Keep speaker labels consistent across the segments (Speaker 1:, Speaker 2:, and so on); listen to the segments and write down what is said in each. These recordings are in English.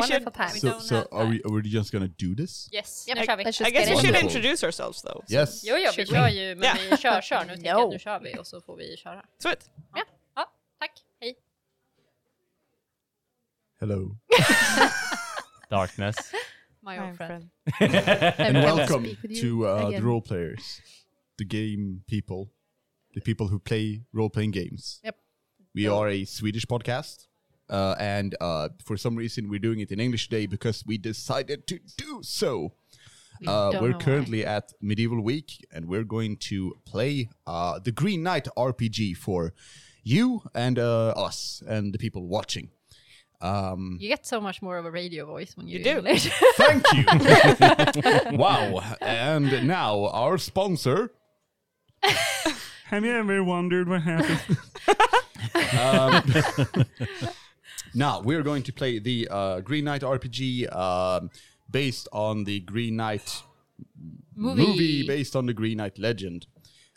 Speaker 1: Wonderful time.
Speaker 2: We
Speaker 3: So,
Speaker 2: don't
Speaker 3: so
Speaker 2: have
Speaker 3: are
Speaker 2: that.
Speaker 3: we, are we just going to do this?
Speaker 1: Yes,
Speaker 2: Japp.
Speaker 1: nu kör vi.
Speaker 4: Let's
Speaker 2: I
Speaker 4: just
Speaker 2: guess
Speaker 4: get
Speaker 2: we should
Speaker 4: into it.
Speaker 3: Wonderful.
Speaker 2: introduce ourselves though.
Speaker 3: Yes.
Speaker 1: Jo, jo, vi
Speaker 2: Should we?
Speaker 1: kör ju, men
Speaker 2: Ja.
Speaker 1: vi kör, kör. Nu tänker jag,
Speaker 4: No.
Speaker 1: nu kör vi och så får vi köra.
Speaker 2: So it.
Speaker 1: Ja, tack, hej.
Speaker 3: Hello.
Speaker 5: Darkness.
Speaker 1: My old friend.
Speaker 4: I
Speaker 3: And
Speaker 4: will
Speaker 3: welcome
Speaker 4: speak with you
Speaker 3: to uh, the
Speaker 4: again.
Speaker 3: role players, the game people, the people who play role playing games.
Speaker 4: Yep.
Speaker 3: We are a Swedish podcast. Uh, and uh, for some reason, we're doing it in English today because we decided to do so. Uh,
Speaker 4: don't
Speaker 3: we're
Speaker 4: know why.
Speaker 3: currently at Medieval Week, and we're going to play uh, the Green Knight RPG for you and uh, us and the people watching. Um,
Speaker 1: You get so much more of a radio voice when you,
Speaker 2: You
Speaker 1: do
Speaker 2: do.
Speaker 1: English.
Speaker 3: Thank you. wow. And now our sponsor.
Speaker 5: Have you ever wondered what happened?
Speaker 3: Now we're going to play the uh, Green Knight RPG um, based on the Green Knight
Speaker 1: Movie.
Speaker 3: based on the Green Knight legend.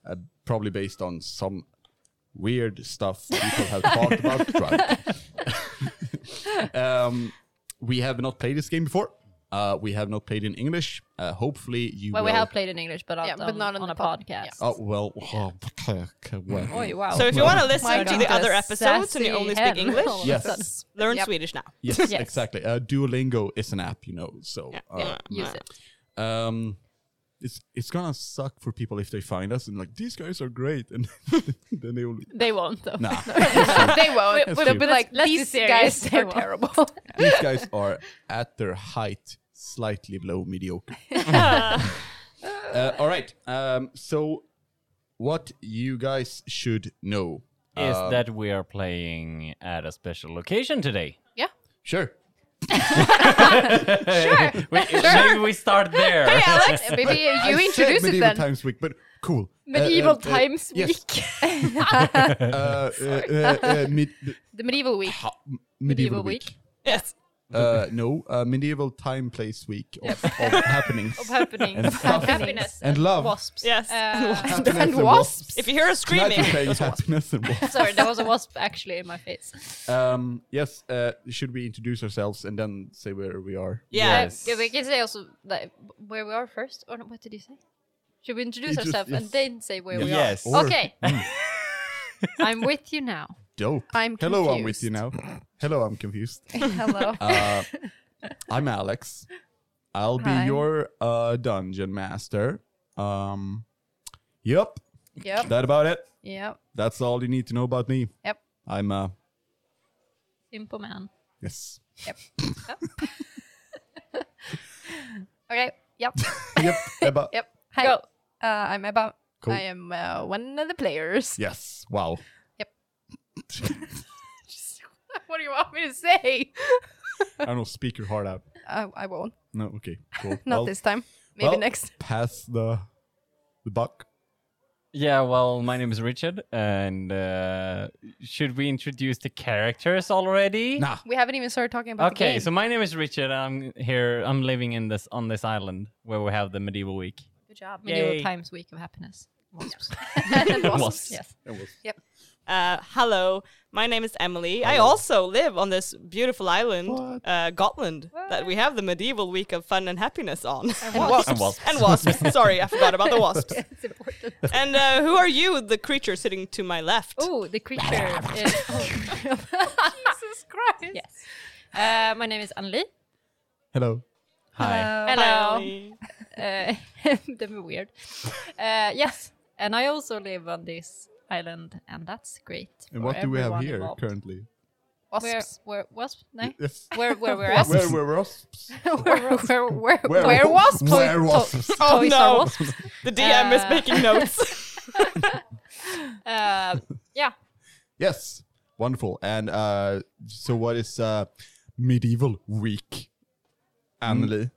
Speaker 3: Uh, probably based on some weird stuff people have talked about. Right. um, we have not played this game before. Uh, we have not played in English. Uh, hopefully you
Speaker 1: Well,
Speaker 3: will.
Speaker 1: we have played in English, but,
Speaker 4: Yeah,
Speaker 1: on,
Speaker 4: but not on
Speaker 1: on
Speaker 4: the
Speaker 1: a
Speaker 4: pod-
Speaker 1: podcast.
Speaker 4: yeah.
Speaker 3: Oh well. oh, okay, okay, well.
Speaker 1: Oj, wow.
Speaker 2: So if you want to
Speaker 4: My
Speaker 2: listen to
Speaker 4: God.
Speaker 2: the other episodes and you only speak
Speaker 1: Sassy
Speaker 2: English,
Speaker 1: hell.
Speaker 3: Yes.
Speaker 4: That's-
Speaker 2: learn
Speaker 4: Yep.
Speaker 2: Swedish now.
Speaker 3: Yes,
Speaker 1: Yes.
Speaker 3: exactly. Uh, Duolingo is an app, you know. So
Speaker 2: Yeah,
Speaker 3: uh,
Speaker 1: Use it.
Speaker 3: um, it's it's gonna suck for people if they find us and like these guys are great, and then they will
Speaker 1: They won't though.
Speaker 3: nah.
Speaker 4: they won't.
Speaker 3: That's
Speaker 4: They'll
Speaker 3: true.
Speaker 4: be like,
Speaker 1: Let's be
Speaker 4: these
Speaker 1: serious,
Speaker 4: guys
Speaker 1: they
Speaker 4: are
Speaker 1: won't."
Speaker 4: terrible.
Speaker 3: these guys are at their height, slightly below mediocre. uh, all right. Um, so what you guys should know
Speaker 5: Is
Speaker 3: um,
Speaker 5: that we are playing at a special location today?
Speaker 1: Yeah.
Speaker 3: sure.
Speaker 5: Sure. Maybe we start there.
Speaker 4: Alex, maybe you
Speaker 3: I said
Speaker 4: introduce it
Speaker 3: medieval
Speaker 4: then.
Speaker 3: times week, but cool. Uh,
Speaker 4: medieval
Speaker 3: uh, uh,
Speaker 4: times
Speaker 3: yes.
Speaker 4: week.
Speaker 3: Uh, uh, uh, uh, mid-
Speaker 4: the medieval week.
Speaker 3: ha- m-
Speaker 1: Medieval
Speaker 3: medieval
Speaker 1: week.
Speaker 3: week.
Speaker 2: Yes.
Speaker 3: Uh, no, uh, medieval time place week of, of happenings.
Speaker 1: Happening.
Speaker 3: And stuff.
Speaker 1: Happiness.
Speaker 3: And love.
Speaker 1: Wasps.
Speaker 2: Yes.
Speaker 1: Uh,
Speaker 3: Happiness
Speaker 4: and wasps.
Speaker 2: if you hear us
Speaker 3: Tonight
Speaker 2: screaming,
Speaker 3: we're playing
Speaker 2: those are wasps.
Speaker 3: happiness and wasps.
Speaker 1: sorry, there was a wasp actually in my face.
Speaker 3: Um, yes, uh, should we introduce ourselves and then say where we are?
Speaker 2: yeah.
Speaker 5: Yes.
Speaker 1: Yeah, we can say also like, where we are first, or no, what did you say? Should we introduce
Speaker 3: You just-
Speaker 1: ourselves and
Speaker 3: yes.
Speaker 1: then say where we are?
Speaker 5: Yes.
Speaker 3: Or- Mm.
Speaker 1: okay. I'm with you now.
Speaker 3: Dope.
Speaker 4: I'm
Speaker 3: Hello, I'm with you now. Hello, I'm confused.
Speaker 4: Hello.
Speaker 3: Uh, I'm Alex. I'll be
Speaker 4: Hi.
Speaker 3: your uh, dungeon master. Um, yep,
Speaker 4: yep.
Speaker 3: that about it.
Speaker 4: Yep.
Speaker 3: That's all you need to know about me.
Speaker 4: Yep.
Speaker 3: I'm uh,
Speaker 1: Simple man.
Speaker 3: yes.
Speaker 4: Okay. Yep.
Speaker 3: yep. About
Speaker 4: Yep. Hi.
Speaker 1: Go.
Speaker 4: Uh, I'm about.
Speaker 3: Cool.
Speaker 4: I am uh, one of the players.
Speaker 3: Yes. Wow.
Speaker 4: what do you want me to say?
Speaker 3: I don't know. Speak your heart out.
Speaker 4: I, I won't.
Speaker 3: No. Okay. Cool.
Speaker 4: Not
Speaker 3: Well,
Speaker 4: this time. Maybe
Speaker 3: well,
Speaker 4: next.
Speaker 3: Pass the the buck.
Speaker 5: Yeah, well, my name is Richard, and uh, should we introduce the characters already?
Speaker 3: Nah.
Speaker 4: We haven't even started talking about the
Speaker 5: Okay,
Speaker 4: game.
Speaker 5: so my name is Richard. I'm here. I'm living in this on this island where we have the medieval week.
Speaker 4: Good job.
Speaker 1: Medieval
Speaker 5: Yay.
Speaker 1: times week of happiness. Wasps.
Speaker 5: Wasps.
Speaker 1: Yes.
Speaker 2: Uh, hello, my name is Emily. I also live on this beautiful island,
Speaker 3: What?
Speaker 2: uh, Gotland, that we have the medieval week of fun and happiness on. And
Speaker 5: wasps. And wasps.
Speaker 2: And wasps. Sorry, I forgot about the wasps. and uh, who are you, the creature sitting to my left?
Speaker 1: Oh, the creature is.
Speaker 4: Jesus Christ.
Speaker 1: yes. Uh, my name is Anli.
Speaker 3: Hello.
Speaker 5: Hi.
Speaker 1: Hello.
Speaker 2: Hi.
Speaker 1: Uh, they were weird. Uh, yes, and I also live on this island, and that's great.
Speaker 3: And
Speaker 1: for
Speaker 3: what do we have
Speaker 1: everyone
Speaker 3: here
Speaker 1: involved. Eh?
Speaker 3: currently?
Speaker 1: Where,
Speaker 4: Wasps.
Speaker 1: where wasp? No,
Speaker 3: Yes.
Speaker 1: where, where, where
Speaker 3: Where
Speaker 1: else?
Speaker 3: where were wasps?
Speaker 4: where, where, where,
Speaker 3: Were-
Speaker 4: where wasps?
Speaker 3: Where
Speaker 1: Toy-
Speaker 3: wasps?
Speaker 2: Oh,
Speaker 1: Toys
Speaker 2: no.
Speaker 1: are wasps.
Speaker 2: The DM is
Speaker 1: Uh,
Speaker 2: making notes.
Speaker 1: Uh, yeah,
Speaker 3: Yes. Wonderful. And uh, so what is uh, medieval week?
Speaker 1: Hmm.
Speaker 3: Emily.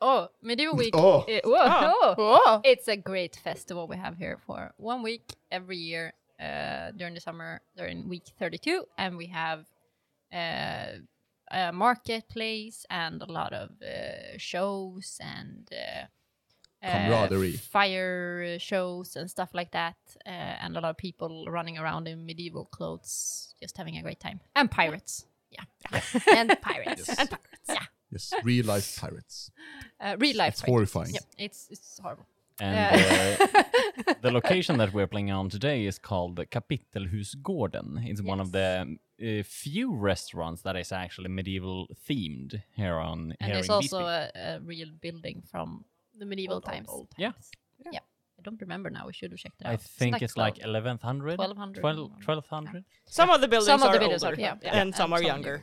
Speaker 1: Oh, medieval week.
Speaker 3: Oh.
Speaker 1: i-
Speaker 2: Ah.
Speaker 1: whoa, oh.
Speaker 4: Oh.
Speaker 1: It's a great festival we have here for one week every year uh, during the summer, during week 32. And we have uh, a marketplace and a lot of uh, shows and uh, uh,
Speaker 3: Camaraderie.
Speaker 1: fire shows and stuff like that. Uh, and a lot of people running around in medieval clothes, just having a great time. And pirates. Yeah. and pirates.
Speaker 3: Yes.
Speaker 1: And pirates. Yeah.
Speaker 3: Yes, real life pirates.
Speaker 1: Uh, real life. pirates.
Speaker 3: It's horrifying.
Speaker 1: Yep, it's it's horrible.
Speaker 5: And uh, the location that we're playing on today is called the Kapitelhusgården. It's one of the uh, few restaurants that is actually medieval themed here on
Speaker 1: And
Speaker 5: here
Speaker 1: there's
Speaker 5: in
Speaker 1: also
Speaker 5: Visby.
Speaker 1: a, a real building from
Speaker 4: The medieval
Speaker 1: old, old,
Speaker 4: times.
Speaker 1: old
Speaker 5: Yeah.
Speaker 1: times. Yeah. I don't remember now. We should have checked it out.
Speaker 5: I think
Speaker 1: not
Speaker 5: it's like
Speaker 1: 12.
Speaker 5: 1100
Speaker 1: 1200.
Speaker 5: 12- 1200
Speaker 2: Some of the buildings
Speaker 1: Some of
Speaker 2: are
Speaker 1: the buildings are-
Speaker 2: older,
Speaker 1: yeah, yeah.
Speaker 2: and some are younger.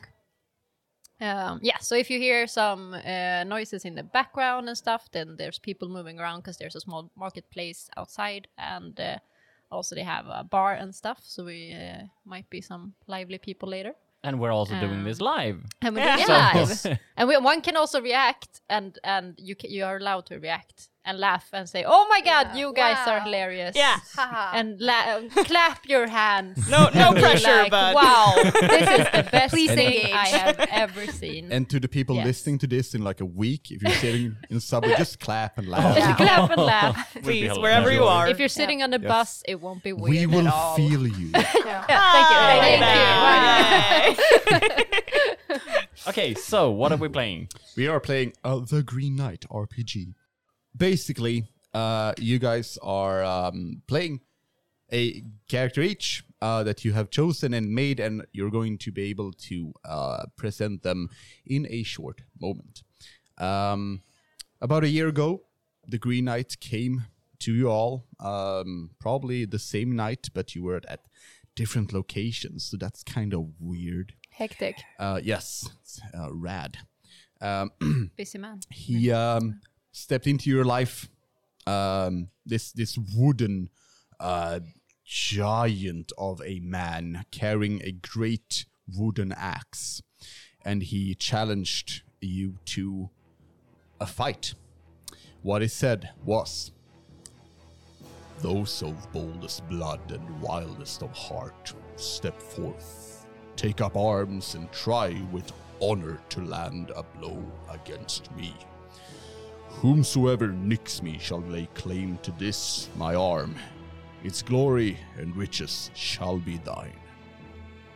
Speaker 1: Um, yeah, so if you hear some uh, noises in the background and stuff, then there's people moving around because there's a small marketplace outside, and uh, also they have a bar and stuff. So we uh, might be some lively people later.
Speaker 5: and we're also doing this live
Speaker 1: And we're doing it
Speaker 5: Yeah. So-
Speaker 1: live, and we, one can also react, and and you ca you are allowed to react and laugh and say, "Oh my god,
Speaker 4: Yeah.
Speaker 1: you guys are
Speaker 4: Wow.
Speaker 1: hilarious!"
Speaker 2: Yeah.
Speaker 4: Haha.
Speaker 1: and la- clap your hands.
Speaker 2: No, no
Speaker 1: Be
Speaker 2: pressure,
Speaker 1: like,
Speaker 2: but
Speaker 1: wow, this is the best
Speaker 4: Please
Speaker 1: thing
Speaker 4: engage.
Speaker 1: I have ever seen.
Speaker 3: And to the people
Speaker 1: Yes.
Speaker 3: listening to this in like a week, if you're sitting in subway, just clap and laugh.
Speaker 1: Just clap and laugh.
Speaker 5: Would be
Speaker 2: please,
Speaker 5: hilarious.
Speaker 2: wherever you are.
Speaker 1: If you're sitting on a
Speaker 3: Yes.
Speaker 1: bus, it won't be weird.
Speaker 3: We
Speaker 1: at
Speaker 3: will
Speaker 1: all.
Speaker 3: feel you.
Speaker 1: Yeah, thank you.
Speaker 2: Hi,
Speaker 1: Thank
Speaker 2: bye.
Speaker 5: okay so what are we playing
Speaker 3: we are playing uh, the Green Knight RPG. Basically, uh, you guys are um, playing a character each uh, that you have chosen and made, and you're going to be able to uh, present them in a short moment. Um, about a year ago, the Green Knight came to you all, um, probably the same night, but you were at different locations, so that's kind of weird.
Speaker 4: Hectic.
Speaker 3: Uh, yes, it's, uh, rad. Um,
Speaker 1: you. Busy man.
Speaker 3: he um, stepped into your life. Um, this this wooden uh, giant of a man carrying a great wooden axe, and he challenged you to a fight. What he said was, "Those of boldest blood and wildest of heart, step forth, take up arms, and try with honor to land a blow against me." Whomsoever nicks me shall lay claim to this, my arm. Its glory and riches shall be thine.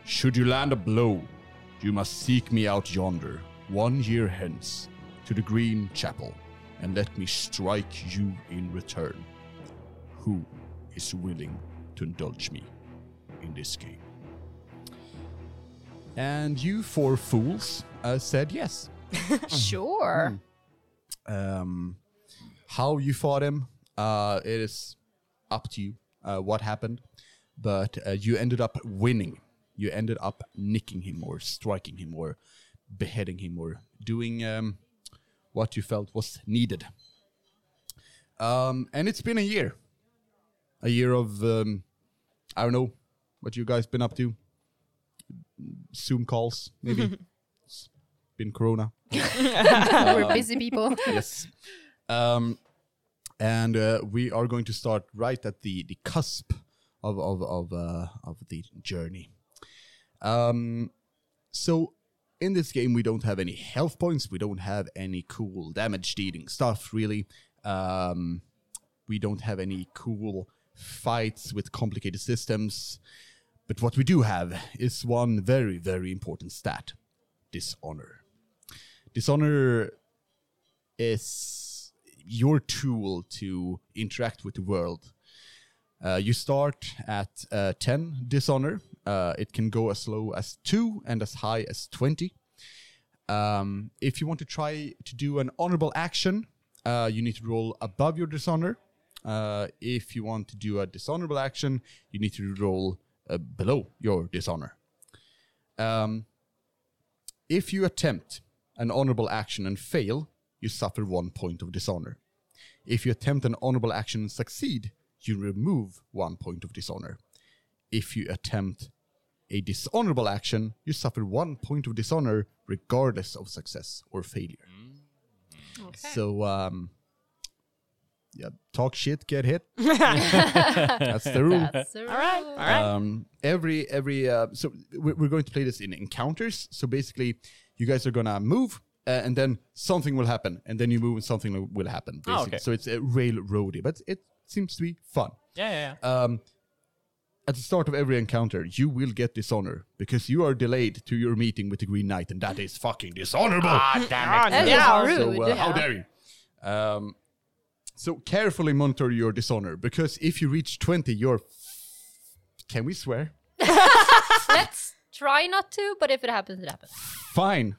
Speaker 3: Should you land a blow, you must seek me out yonder, one year hence, to the Green Chapel, and let me strike you in return. Who is willing to indulge me in this game? And you four fools uh, said yes
Speaker 1: Sure.
Speaker 3: um, how you fought him. Uh, it is up to you uh, what happened, but uh, you ended up winning. You ended up nicking him or striking him or beheading him or doing um, what you felt was needed. Um, and it's been a year, a year of um, I don't know what you guys been up to. Zoom calls, maybe. It's been Corona
Speaker 4: We're busy people.
Speaker 3: yes. Um, and uh, we are going to start right at the the cusp of of of uh, of the journey. Um, so in this game, we don't have any health points. We don't have any cool damage dealing stuff. Really, um, we don't have any cool fights with complicated systems. But what we do have is one very very important stat: dishonor. Dishonor is your tool to interact with the world. Uh, you start at uh, 10 dishonor. Uh, it can go as low as 2 and as high as 20. Um, if you want to try to do an honorable action, uh, you need to roll above your dishonor. Uh, if you want to do a dishonorable action, you need to roll uh, below your dishonor. Um, if you attempt an honorable action and fail, you suffer one point of dishonor. If you attempt an honorable action and succeed, you remove one point of dishonor. If you attempt a dishonorable action, you suffer one point of dishonor regardless of success or failure. So, um, yeah, talk shit, get hit. That's the rule.
Speaker 1: That's a
Speaker 2: all right, all
Speaker 1: rule.
Speaker 2: right.
Speaker 3: Um, every every uh, so we're, we're going to play this in encounters. So basically, you guys are gonna move, uh, and then something will happen, and then you move, and something will- will happen.
Speaker 5: Oh,
Speaker 3: Basically.
Speaker 5: okay.
Speaker 3: So it's a railroady, but it seems to be fun.
Speaker 5: yeah yeah, yeah.
Speaker 3: Um, At the start of every encounter, you will get dishonor because you are delayed to your meeting with the Green Knight, and that is fucking dishonorable.
Speaker 1: That is
Speaker 2: Yeah.
Speaker 1: rude.
Speaker 3: So, uh, how dare you? Um, so carefully monitor your dishonor because if you reach 20, you're. Can we swear?
Speaker 1: Let's try not to, but if it happens, it happens.
Speaker 3: Fine.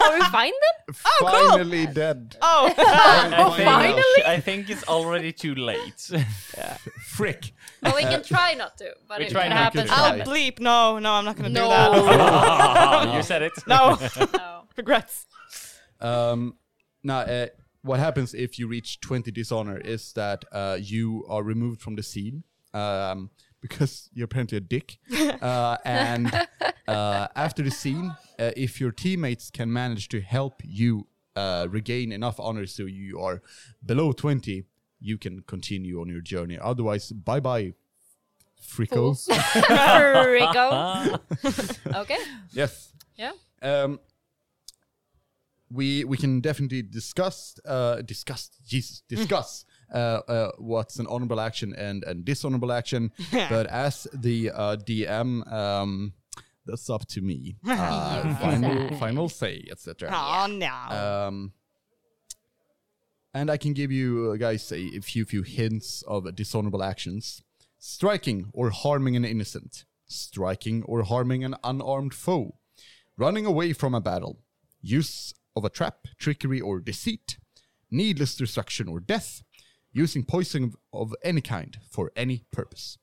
Speaker 1: Are we find them?
Speaker 3: Finally dead.
Speaker 2: Oh,
Speaker 5: I think,
Speaker 3: Finally.
Speaker 5: I think it's already too late.
Speaker 3: Frick.
Speaker 1: Well, we can try not to, but
Speaker 5: We
Speaker 1: if it
Speaker 5: try not to
Speaker 1: happens, it
Speaker 3: try.
Speaker 2: I'll
Speaker 1: happens.
Speaker 2: bleep. No, no, I'm not gonna do that.
Speaker 1: No.
Speaker 5: You said it.
Speaker 2: No,
Speaker 1: no.
Speaker 2: regrets.
Speaker 3: Um, now, uh, what happens if you reach 20 dishonor is that uh, you are removed from the scene um, because you're apparently a dick. Uh, and uh, after the scene, uh, if your teammates can manage to help you uh, regain enough honor so you are below 20, you can continue on your journey. Otherwise, bye bye, frickos.
Speaker 1: Rico. okay.
Speaker 3: Yes.
Speaker 1: Yeah.
Speaker 3: Um, we we can definitely discuss uh, discuss Jesus discuss uh, uh, what's an honorable action and and dishonorable action. but as the uh, DM, um, that's up to me. Uh, final, final say, etc.
Speaker 2: Oh no.
Speaker 3: Um, and I can give you uh, guys a, a few few hints of dishonorable actions: striking or harming an innocent, striking or harming an unarmed foe, running away from a battle, use of a trap, trickery, or deceit, needless destruction or death, using poison of, of any kind for any purpose.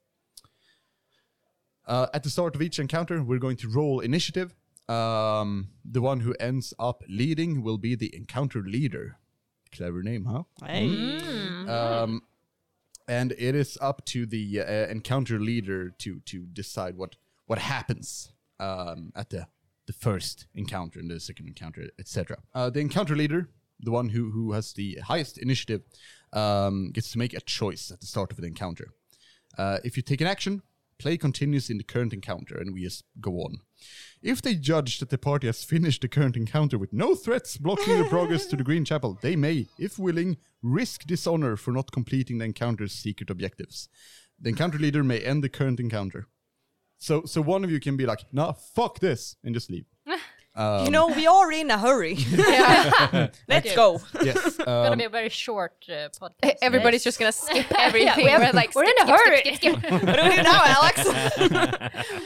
Speaker 3: Uh, at the start of each encounter, we're going to roll initiative. Um, the one who ends up leading will be the encounter leader. Clever name, huh?
Speaker 2: Hey.
Speaker 3: Um, and it is up to the uh, encounter leader to to decide what what happens um, at the the first encounter and the second encounter, etc. Uh, the encounter leader, the one who who has the highest initiative, um, gets to make a choice at the start of an encounter. Uh, if you take an action, play continues in the current encounter, and we just go on. If they judge that the party has finished the current encounter with no threats blocking the progress to the Green Chapel, they may, if willing, risk dishonor for not completing the encounter's secret objectives. The encounter leader may end the current encounter. So, so one of you can be like, "Nah, fuck this," and just leave.
Speaker 2: you know we are in a hurry. Let's go.
Speaker 3: Yes.
Speaker 1: It's
Speaker 3: Um,
Speaker 1: gonna be a very short uh,
Speaker 4: E-
Speaker 1: podcast.
Speaker 4: Everybody's just gonna skip
Speaker 1: Yeah,
Speaker 4: everything.
Speaker 1: we have-
Speaker 4: We're like,
Speaker 1: we're in
Speaker 4: skip,
Speaker 1: a
Speaker 4: skip,
Speaker 1: hurry.
Speaker 4: skip, skip, skip.
Speaker 2: What do we do now, Alex?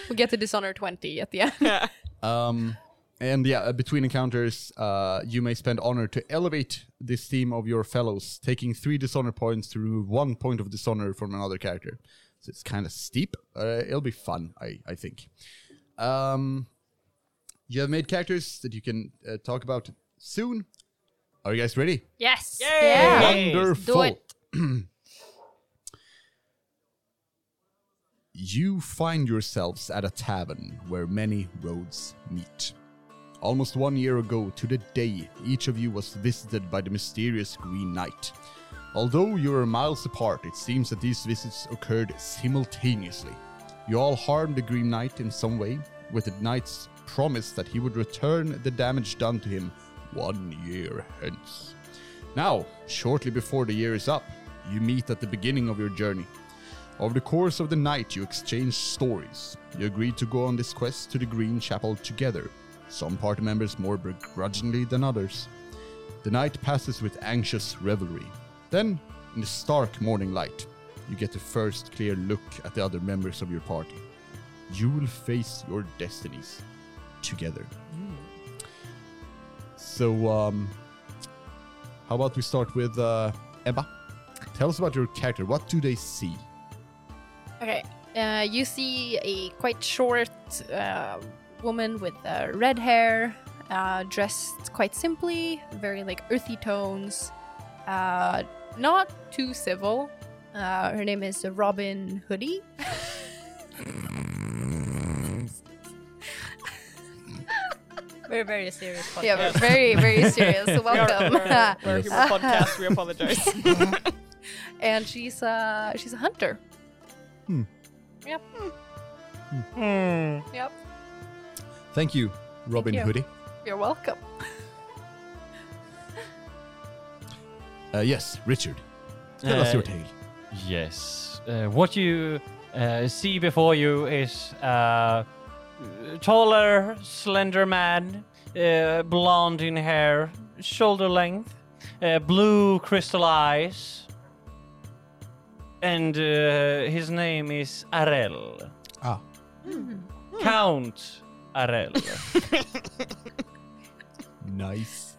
Speaker 4: we get to dishonor twenty at the end.
Speaker 3: Um, and yeah, uh, between encounters, uh, you may spend honor to elevate this theme of your fellows, taking three dishonor points to remove one point of dishonor from another character. So it's kind of steep. Uh, it'll be fun, I, I think. Um, you have made characters that you can uh, talk about soon. Are you guys ready?
Speaker 1: Yes.
Speaker 2: Yeah.
Speaker 3: Wonderful.
Speaker 1: Do it.
Speaker 3: you find yourselves at a tavern where many roads meet. Almost one year ago to the day, each of you was visited by the mysterious Green Knight. Although you are miles apart, it seems that these visits occurred simultaneously. You all harmed the Green Knight in some way, with the Knight's promise that he would return the damage done to him one year hence. Now, shortly before the year is up, you meet at the beginning of your journey. Over the course of the night, you exchange stories. You agree to go on this quest to the Green Chapel together, some party members more begrudgingly than others. The night passes with anxious revelry. Then, in the stark morning light, you get the first clear look at the other members of your party. You will face your destinies together. So, um, how about we start with uh, Ebba? Tell us about your character. What do they see?
Speaker 4: Okay. Uh, you see a quite short uh, woman with uh, red hair, uh, dressed quite simply, very like earthy tones, uh, not too civil. Uh, her name is Robin Hoodie.
Speaker 1: We're very serious. Podcast.
Speaker 4: Yeah, but very, very serious. Welcome.
Speaker 2: We're, we're a humor podcast. We apologize.
Speaker 4: and she's uh, she's a hunter. Yep. Yep.
Speaker 3: Thank you, Robin
Speaker 4: you.
Speaker 3: Hoodie.
Speaker 4: You're welcome.
Speaker 3: Uh, yes, Richard. Tell us
Speaker 5: Uh,
Speaker 3: your tale.
Speaker 5: Yes. Uh, what you Uh, see before you is a taller, slender man, uh, blonde in hair, shoulder length, uh, blue crystal eyes, and uh, his name is Arel.
Speaker 3: Ah.
Speaker 5: Hmm. Count Arel.
Speaker 3: Nice.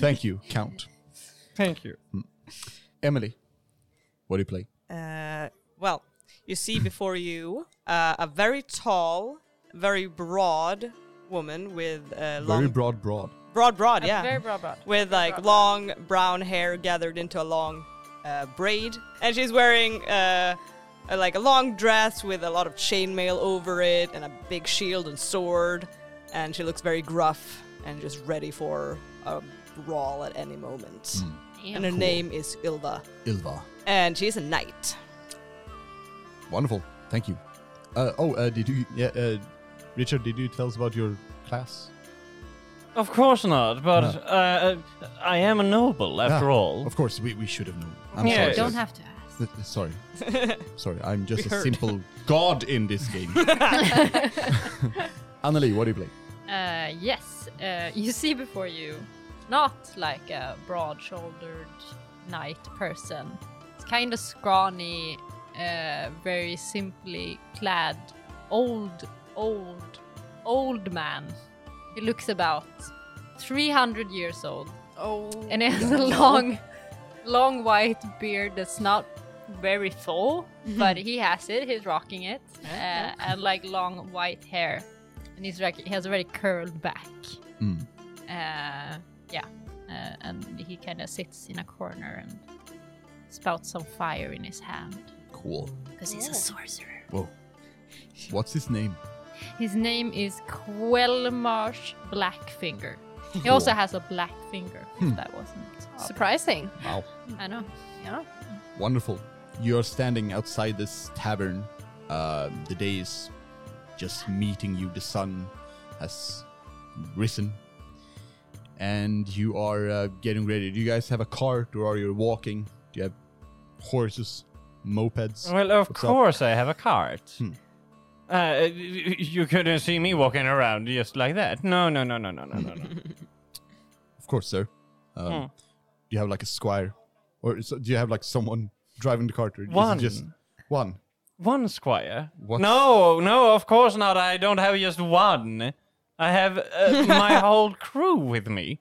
Speaker 3: Thank you, Count.
Speaker 5: Thank you.
Speaker 3: Emily, what do you play?
Speaker 2: Uh, well, you see before you uh, a very tall, very broad woman with uh, long,
Speaker 3: Very broad, broad.
Speaker 2: broad, broad, yeah,
Speaker 1: Very broad, broad.
Speaker 2: with like long brown hair gathered into a long uh, braid, and she's wearing uh, a, like a long dress with a lot of chainmail over it and a big shield and sword, and she looks very gruff and just ready for a brawl at any moment. And her name is Ilva,
Speaker 3: Ilva.
Speaker 2: and she's a knight.
Speaker 3: Wonderful. Thank you. Uh, oh, uh, did you, yeah, uh, Richard, did you tell us about your class?
Speaker 5: Of course not, but uh, I am a noble after
Speaker 3: Ah,
Speaker 5: all.
Speaker 3: Of course, we, we should have known. I'm
Speaker 5: Yeah,
Speaker 3: sorry.
Speaker 5: it
Speaker 1: Don't
Speaker 5: is.
Speaker 1: have to ask.
Speaker 3: Th- th- Sorry. Sorry, I'm just
Speaker 2: We
Speaker 3: a
Speaker 2: heard.
Speaker 3: simple god in this game. Annalie, what do you play?
Speaker 1: Uh, yes, uh, you see before you, not like a broad shouldered knight person. It's kind of scrawny, uh, very simply clad, old, old, old man. He looks about 300 years old
Speaker 4: Oh.
Speaker 1: and he has a long, long white beard that's not very full, but he has it. He's rocking it, uh, and like long white hair, and he's like he has a very curled back.
Speaker 3: Mm.
Speaker 1: Uh, yeah, uh, and he kind of sits in a corner and spouts some fire in his hand
Speaker 3: Cool.
Speaker 1: because he's a sorcerer.
Speaker 3: Whoa. What's his name?
Speaker 1: His name is Quelmarsh Blackfinger. He also
Speaker 3: Cool.
Speaker 1: has a black finger. if
Speaker 3: Hmm.
Speaker 1: That wasn't.
Speaker 4: Surprising.
Speaker 3: Wow.
Speaker 1: I know.
Speaker 4: Yeah.
Speaker 3: Wonderful. You are standing outside this tavern. Um, the day is just meeting you. The sun has risen. And you are uh, getting ready. Do you guys have a cart or are you walking? Do you have horses, mopeds?
Speaker 5: Well, of
Speaker 3: What's up? Hmm.
Speaker 5: course I have a cart. Uh, y- y- you couldn't see me walking around just like that. No, no, no, no, no, no, no. no.
Speaker 3: Of course, sir. Um,
Speaker 5: Hmm.
Speaker 3: Do you have like a squire? Or is, do you have like someone driving the cart? Or is it
Speaker 5: One.
Speaker 3: just one.
Speaker 5: One squire.
Speaker 3: What?
Speaker 5: No, no, of course not. I don't have just one. I have uh, my whole crew with me.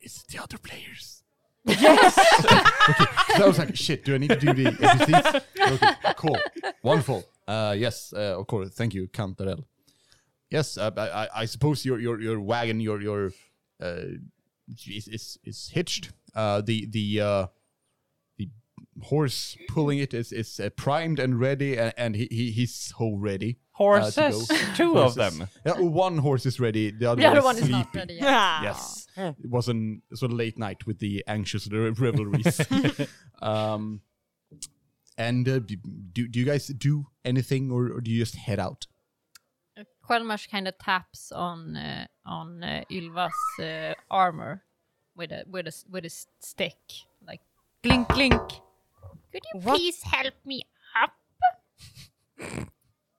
Speaker 3: It's the other players. Yes. okay. So I was like, shit. Do I need to do the NPCs? Okay. Cool. Wonderful. Uh, yes. Uh, of course. Thank you, Count Darrell. Yes. Uh, I, I, I suppose your your your wagon your your uh, is, is is hitched. Uh, the the uh, the horse pulling it is is uh, primed and ready, and, and he, he he's so ready. uh, to go.
Speaker 5: Horses, two of
Speaker 3: Horses.
Speaker 5: them.
Speaker 3: Yeah, one horse is ready. The other,
Speaker 1: The other one
Speaker 3: one is
Speaker 1: is not
Speaker 3: sleepy.
Speaker 1: ready yet.
Speaker 3: Yes. It was an sort of late night with the anxious re- revelries. um, and uh, d- do, do you guys do anything or, or do you just head out?
Speaker 1: Quelmash kind of taps on uh, on uh, Ylva's uh, armor with a with a s- with a s- stick, like clink clink. Could you
Speaker 2: What?
Speaker 1: please help me up?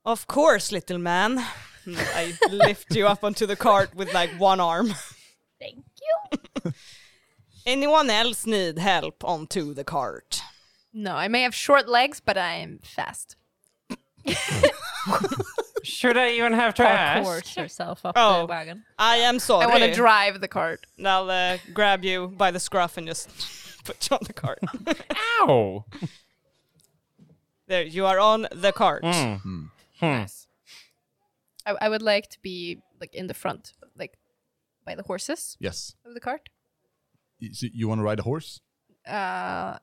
Speaker 2: Of course, little man. I lift you up onto the cart with like one arm.
Speaker 1: Thank you.
Speaker 2: Anyone else need help onto the cart?
Speaker 4: No, I may have short legs, but I am fast.
Speaker 5: Should I even have to
Speaker 1: Parkours
Speaker 5: ask?
Speaker 1: herself up
Speaker 2: Oh.
Speaker 1: the wagon.
Speaker 2: I am sorry.
Speaker 4: I want to drive the cart.
Speaker 2: And I'll uh, grab you by the scruff and just put you on the cart.
Speaker 5: Ow!
Speaker 2: there, you are on the cart.
Speaker 3: Mm.
Speaker 4: I, I would like to be like in the front, like by the horses
Speaker 3: Yes.
Speaker 4: of the cart.
Speaker 3: Y- So you want to ride a horse?
Speaker 4: Uh,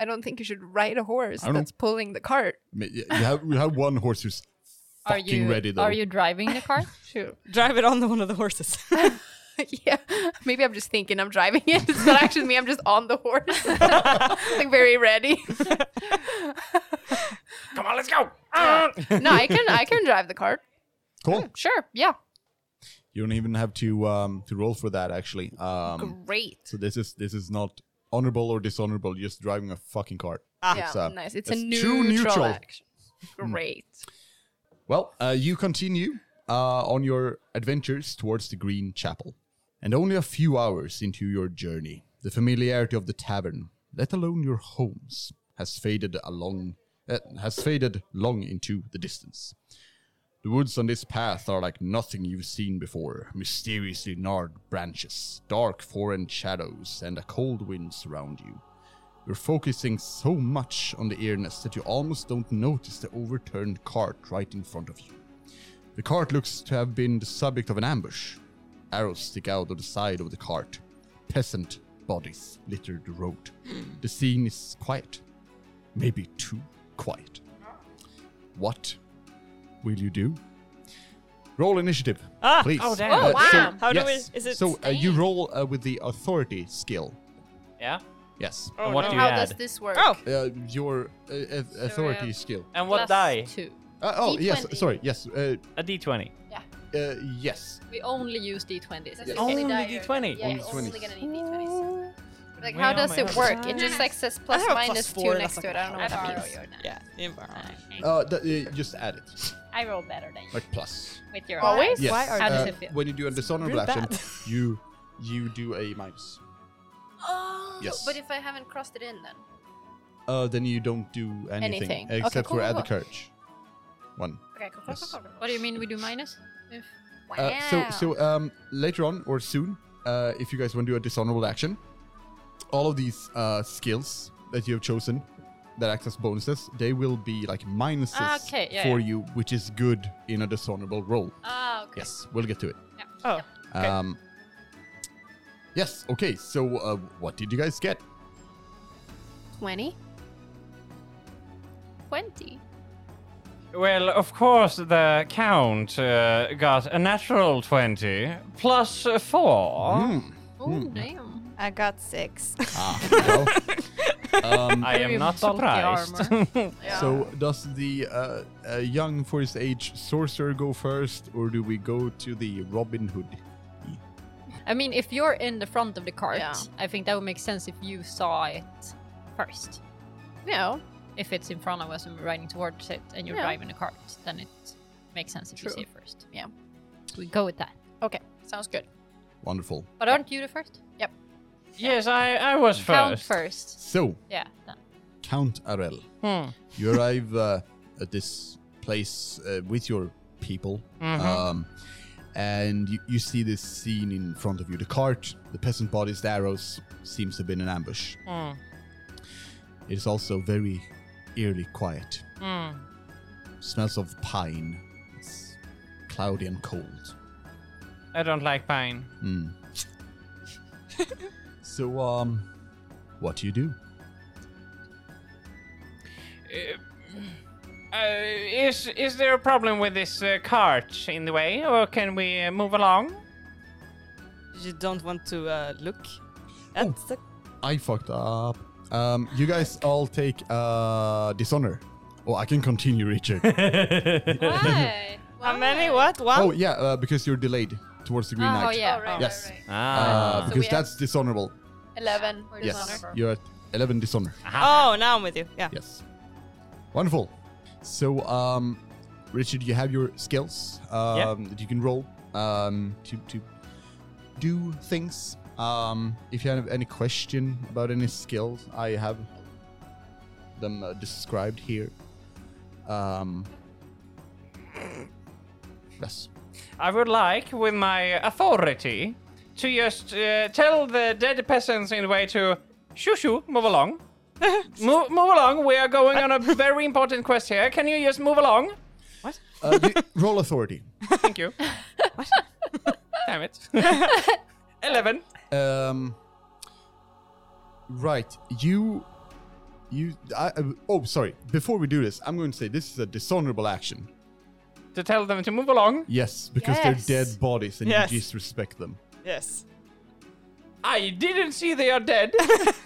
Speaker 4: I don't think you should ride a horse
Speaker 3: I don't-
Speaker 4: that's pulling the cart.
Speaker 3: I mean, y- You have, you have one horse who's
Speaker 1: Are
Speaker 3: fucking
Speaker 1: you
Speaker 3: ready, though.
Speaker 1: are you driving the cart?
Speaker 4: Shoot.
Speaker 2: Drive it on the one of the horses.
Speaker 4: yeah. Maybe I'm just thinking I'm driving it. It's not actually me. I'm just on the horse, like very ready.
Speaker 5: Come on, let's go! Ah!
Speaker 4: No, I can I can drive the cart.
Speaker 3: cool.
Speaker 4: Sure. Yeah.
Speaker 3: You don't even have to um, to roll for that, actually. Um,
Speaker 4: Great.
Speaker 3: so this is this is not honorable or dishonorable, just driving a fucking car.
Speaker 2: Ah.
Speaker 4: yeah,
Speaker 3: It's a-
Speaker 4: nice. It's, a
Speaker 3: it's
Speaker 4: neutral,
Speaker 3: true neutral. Hmm.
Speaker 4: action. Great.
Speaker 3: Well, uh, you continue uh, on your adventures towards the Green Chapel. And only a few hours into your journey, the familiarity of the tavern, let alone your homes, has faded along uh, has faded long into the distance. The woods on this path are like nothing you've seen before, mysteriously gnarled branches, dark foreign shadows, and a cold wind surround you. You're focusing so much on the earnest that you almost don't notice the overturned cart right in front of you. The cart looks to have been the subject of an ambush. Arrows stick out of the side of the cart. Peasant bodies litter the road.
Speaker 2: Hmm.
Speaker 3: the scene is quiet. Maybe too quiet. What will you do? Roll initiative,
Speaker 2: Ah!
Speaker 3: please. Uh,
Speaker 5: Oh, damn. Oh,
Speaker 3: so-
Speaker 1: wow.
Speaker 2: How do
Speaker 3: yes.
Speaker 2: we- is it
Speaker 3: So uh, you roll uh, with the authority skill.
Speaker 5: Yeah.
Speaker 3: Yes.
Speaker 2: Oh,
Speaker 5: and what
Speaker 2: no.
Speaker 5: do you
Speaker 4: How
Speaker 5: add?
Speaker 4: does this work?
Speaker 2: Oh,
Speaker 3: Uh, your uh, auth- authority skill.
Speaker 5: and what
Speaker 1: Plus
Speaker 5: die?
Speaker 1: Two.
Speaker 3: Uh, oh yes,
Speaker 1: D20.
Speaker 3: sorry. Yes, uh,
Speaker 5: A d20.
Speaker 3: uh, yes.
Speaker 1: We only use d20s.
Speaker 4: That's
Speaker 1: Yes.
Speaker 4: okay.
Speaker 5: Only
Speaker 4: Yeah,
Speaker 5: D20.
Speaker 4: you're right. Yeah,
Speaker 3: Only
Speaker 4: you're only
Speaker 3: 20s.
Speaker 4: gonna need D20s. Like,
Speaker 5: Where
Speaker 4: how
Speaker 5: are
Speaker 4: does
Speaker 5: my
Speaker 4: it
Speaker 5: others?
Speaker 4: work? It just like says plus
Speaker 2: have a plus
Speaker 4: minus
Speaker 2: four,
Speaker 4: two next
Speaker 2: that's
Speaker 4: to it. I don't know
Speaker 1: I
Speaker 4: what
Speaker 1: borrow
Speaker 4: that
Speaker 1: your
Speaker 4: means.
Speaker 1: nine.
Speaker 2: yeah. environment.
Speaker 3: Uh, th- uh, just add it,
Speaker 1: I roll better than you
Speaker 3: like plus.
Speaker 1: with your eyes.
Speaker 4: Always?
Speaker 3: Yes.
Speaker 2: Why are
Speaker 1: How
Speaker 3: uh,
Speaker 1: does it feel?
Speaker 3: When you do a dishonorable
Speaker 2: really
Speaker 3: action,
Speaker 2: bad.
Speaker 3: you you do a minus.
Speaker 4: Oh,
Speaker 3: Yes.
Speaker 4: but if I haven't crossed it in, then
Speaker 3: Uh, then you don't do anything,
Speaker 4: Anything. Okay,
Speaker 3: except
Speaker 4: cool,
Speaker 3: for
Speaker 4: cool,
Speaker 3: add the
Speaker 4: cool.
Speaker 3: courage. One.
Speaker 4: okay. Cool, cool,
Speaker 3: Yes.
Speaker 4: cool, cool, cool.
Speaker 1: What do you mean we do minus? If
Speaker 4: Wow.
Speaker 3: Uh, so so um, later on or soon, uh, if you guys want to do a dishonorable action, all of these uh, skills that you have chosen that act as bonuses, they will be like
Speaker 1: Ah,
Speaker 3: minuses
Speaker 1: okay, yeah,
Speaker 3: for
Speaker 1: yeah.
Speaker 3: you, which is good in a dishonorable roll.
Speaker 1: ah, okay.
Speaker 3: Yes, we'll get to it.
Speaker 2: Oh, Okay.
Speaker 3: Um, yes. Okay. So, uh, what did you guys get?
Speaker 4: 20? 20?
Speaker 5: Well, of course, the count uh, got a natural 20 plus 4.
Speaker 1: Oh, damn.
Speaker 6: I got six.
Speaker 3: Ah, well, um,
Speaker 5: I am
Speaker 1: Very
Speaker 5: not
Speaker 1: bulky
Speaker 5: surprised.
Speaker 3: so does the uh, uh, young for his age sorcerer go first, or do we go to the Robin Hood?
Speaker 1: I mean, if you're in the front of the cart,
Speaker 4: Yeah.
Speaker 1: I think that would make sense if you saw it first.
Speaker 4: No.
Speaker 1: If it's in front of us and we're riding towards it and you're
Speaker 4: Yeah.
Speaker 1: driving the cart, then it makes sense if
Speaker 4: True.
Speaker 1: you see it first.
Speaker 4: Yeah.
Speaker 1: We go with that.
Speaker 4: Okay. Sounds good.
Speaker 3: Wonderful.
Speaker 1: But aren't you the first?
Speaker 4: Yep.
Speaker 5: yes, I, I was first.
Speaker 1: Count first.
Speaker 3: So,
Speaker 1: Yeah. Then.
Speaker 3: Count Arel,
Speaker 5: Hmm.
Speaker 3: you arrive uh, at this place uh, with your people.
Speaker 5: Mm-hmm.
Speaker 3: Um, and you, you see this scene in front of you. The cart, the peasant bodies, the arrows seems to have been an ambush.
Speaker 5: Hmm.
Speaker 3: It is also very eerily quiet.
Speaker 5: Hmm.
Speaker 3: Smells of pine. It's cloudy and cold.
Speaker 5: I don't like pine.
Speaker 3: Mm. so, um, what do you do?
Speaker 5: Uh, is is there a problem with this uh, cart in the way, or can we uh, move along?
Speaker 2: you don't want to uh, look at the.
Speaker 3: I fucked up. Um, you guys all take uh, dishonor. Oh, I can continue, Richard.
Speaker 1: Why?
Speaker 2: How many? What? One?
Speaker 3: oh yeah, uh, because you're delayed towards the green
Speaker 1: Oh,
Speaker 3: light.
Speaker 1: yeah.
Speaker 4: Oh, right,
Speaker 3: Yes.
Speaker 4: right, right.
Speaker 5: Ah.
Speaker 3: Uh, because
Speaker 4: we have-
Speaker 3: that's dishonorable.
Speaker 4: 11.
Speaker 1: Or
Speaker 3: Yes,
Speaker 1: dishonor.
Speaker 3: you're at eleven dishonor.
Speaker 2: Oh, now I'm with you. Yeah.
Speaker 3: Yes. Wonderful. So, um, Richard, you have your skills um, that you can roll um, to, to do things. Um, if you have any question about any skills, I have them uh, described here. Um, yes.
Speaker 5: I would like, with my authority, to just uh, tell the dead peasants in the way to shoo shoo, move along. move, move along, we are going on a very important quest here. Can you just move along?
Speaker 3: Uh, you- roll authority.
Speaker 5: Thank you. Damn it. 11.
Speaker 3: Um, right, you, you. I, I- oh, sorry. Before we do this, I'm going to say this is a dishonorable action.
Speaker 5: To tell them to move along.
Speaker 3: Yes, because
Speaker 4: Yes.
Speaker 3: they're dead bodies and
Speaker 2: Yes.
Speaker 3: you disrespect them.
Speaker 2: Yes.
Speaker 5: I didn't see they are dead.
Speaker 4: But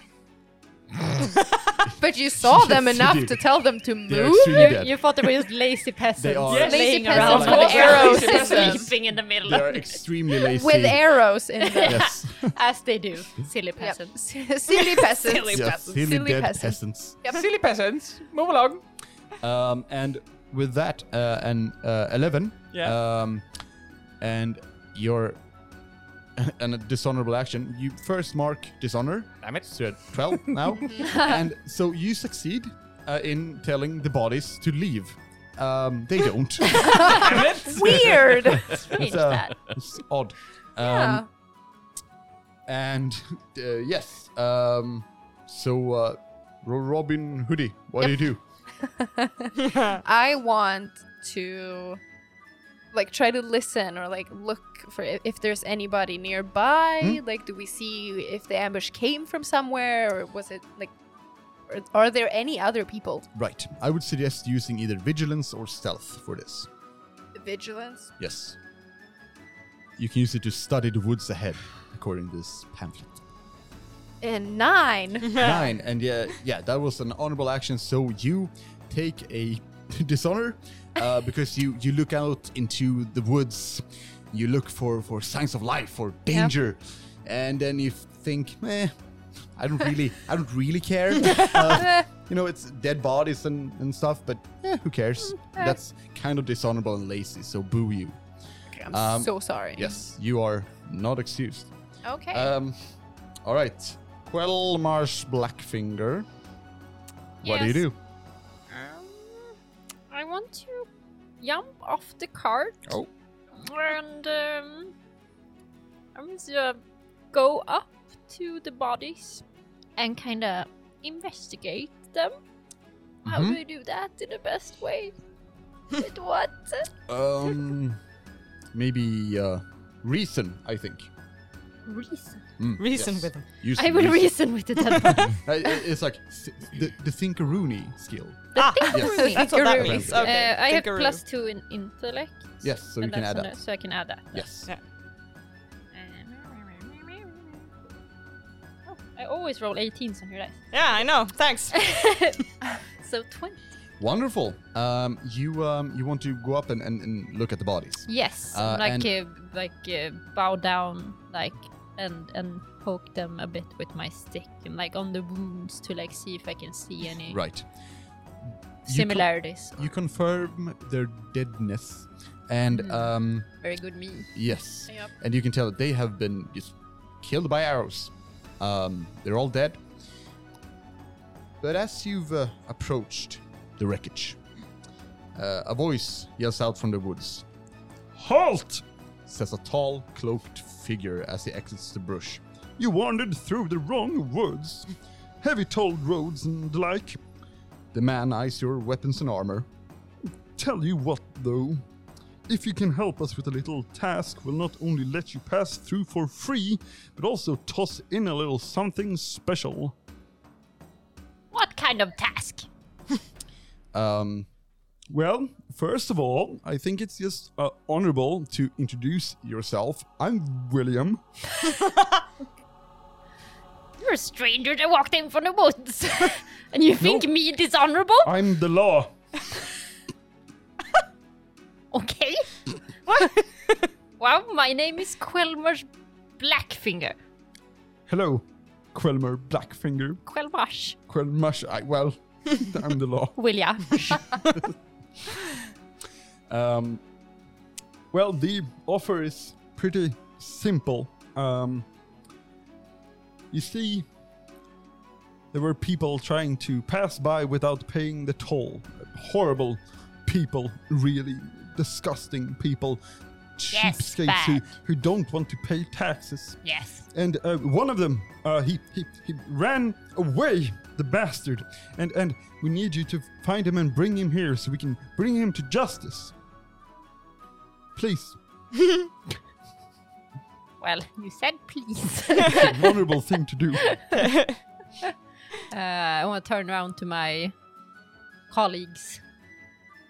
Speaker 4: But you saw them
Speaker 3: Yes, you
Speaker 4: enough
Speaker 3: did.
Speaker 4: to tell them to
Speaker 3: They're
Speaker 4: move.
Speaker 3: extremely
Speaker 1: You,
Speaker 3: dead.
Speaker 1: you thought they were just lazy peasants.
Speaker 3: They are- Yes.
Speaker 4: Lazy
Speaker 1: laying
Speaker 4: peasants
Speaker 1: around
Speaker 4: with arrows
Speaker 2: Lazy
Speaker 4: in them.
Speaker 2: peasants.
Speaker 1: sleeping in the middle.
Speaker 3: They are extremely lazy.
Speaker 4: With arrows in them.
Speaker 3: Yes.
Speaker 1: As they do. Silly
Speaker 4: Yep.
Speaker 1: peasants.
Speaker 4: Silly peasants.
Speaker 2: Silly
Speaker 3: yes.
Speaker 2: peasants.
Speaker 3: Silly,
Speaker 4: Silly
Speaker 3: dead
Speaker 4: peasants.
Speaker 3: peasants.
Speaker 2: Silly peasants, move along.
Speaker 3: Um, and with that, uh, and uh, eleven.
Speaker 5: Yeah.
Speaker 3: Um, and your and a dishonorable action. You first mark dishonor.
Speaker 5: Damn it.
Speaker 3: So you're at twelve now, and so you succeed uh, in telling the bodies to leave. Um, they don't.
Speaker 2: Um,
Speaker 4: Weird.
Speaker 1: Change
Speaker 3: it's, uh,
Speaker 1: that.
Speaker 3: it's odd. Um,
Speaker 4: Yeah.
Speaker 3: And uh, yes, um, so uh, Ro- Robin Hoodie, what do you do?
Speaker 4: I want to like try to listen or like look for if, if there's anybody nearby.
Speaker 3: Hmm?
Speaker 4: Like, do we see if the ambush came from somewhere or was it like? or- Are there any other people?
Speaker 3: Right, I would suggest using either vigilance or stealth for this.
Speaker 4: Vigilance.
Speaker 3: Yes. You can use it to study the woods ahead, according to this pamphlet.
Speaker 4: And nine.
Speaker 3: Nine, and yeah, yeah, that was an honorable action. So you take a dishonor uh, because you you look out into the woods, you look for for signs of life or danger, and then you think, eh, I don't really, I don't really care. Uh, you know, it's dead bodies and and stuff, but eh, who cares? That's kind of dishonorable and lazy. So boo you.
Speaker 4: I'm
Speaker 3: Um,
Speaker 4: so sorry.
Speaker 3: Yes, you are not excused.
Speaker 4: Okay.
Speaker 3: Um, all right. Quelmarsh Blackfinger. What do
Speaker 1: Yes.
Speaker 3: you do?
Speaker 1: Um, I want to jump off the cart.
Speaker 3: Oh.
Speaker 1: And um, I'm going to go up to the bodies and kind of investigate them. How
Speaker 3: Mhm.
Speaker 1: do you do that in the best way? With what?
Speaker 3: Um, maybe uh, reason. I think.
Speaker 1: Reason.
Speaker 3: Mm,
Speaker 2: Reason
Speaker 3: yes.
Speaker 2: with them.
Speaker 3: Use
Speaker 1: I will reason
Speaker 3: reason.
Speaker 1: with the dead
Speaker 3: Uh, it- it's like th- the the Thinkaroonie skill.
Speaker 1: The
Speaker 3: yes.
Speaker 1: thinkaroonie.
Speaker 2: Ah. That's what that
Speaker 4: Tinkeroo.
Speaker 2: means.
Speaker 3: Uh,
Speaker 2: Okay.
Speaker 1: uh, I have
Speaker 2: Tinkeroo.
Speaker 1: plus two in intellect.
Speaker 3: Yes, so you
Speaker 1: and
Speaker 3: can
Speaker 1: that's
Speaker 3: add
Speaker 1: on
Speaker 3: that.
Speaker 1: it, So I can add that.
Speaker 3: Yes.
Speaker 2: Yeah.
Speaker 1: Oh, I always roll 18s on your dice.
Speaker 2: Yeah, I know. Thanks.
Speaker 1: So 20.
Speaker 3: Wonderful. Um, you um, you want to go up and, and, and look at the bodies.
Speaker 1: Yes,
Speaker 3: Uh,
Speaker 1: like uh, like uh, bow down, like and and poke them a bit with my stick and like on the wounds to like see if I can see any
Speaker 3: Right. You con-
Speaker 1: similarities.
Speaker 3: You confirm their deadness, and um,
Speaker 1: Very good me.
Speaker 3: yes,
Speaker 1: Yep.
Speaker 3: and you can tell that they have been just killed by arrows. Um, they're all dead. But as you've uh, approached the wreckage, uh, a voice yells out from the woods. "Halt!" says a tall, cloaked figure as he exits the brush. "You wandered through the wrong woods, heavy tolled roads and the like." The man eyes your weapons and armor.
Speaker 6: Tell you what, though. If you can help us with a little task, we'll not only let you pass through for free, but also toss in a little something special.
Speaker 1: What kind of task?
Speaker 3: Um,
Speaker 6: Well, first of all,
Speaker 3: I think it's just
Speaker 6: uh, honorable to introduce yourself. I'm William.
Speaker 1: You're a stranger that walked in from the woods, and you think me dishonorable?
Speaker 6: I'm the law.
Speaker 1: Okay. well, my name is Quelmarsh Blackfinger.
Speaker 6: Hello, Quelmer Blackfinger.
Speaker 1: Quelmarsh.
Speaker 6: Quelmash. I, well, I'm the law.
Speaker 1: William.
Speaker 6: Um, well, the offer is pretty simple. Um, you see, there were people trying to pass by without paying the toll. Horrible people, really disgusting people.
Speaker 1: Yes,
Speaker 6: Cheapskates who,
Speaker 1: bad.
Speaker 6: who don't want to pay taxes.
Speaker 1: yes.
Speaker 6: And uh, one of them, uh, he, he he ran away, the bastard. And and we need you to find him and bring him here so we can bring him to justice. Please,
Speaker 1: Well, you said please.
Speaker 6: It's a honorable thing to do.
Speaker 1: Uh, I want to turn around to my colleagues.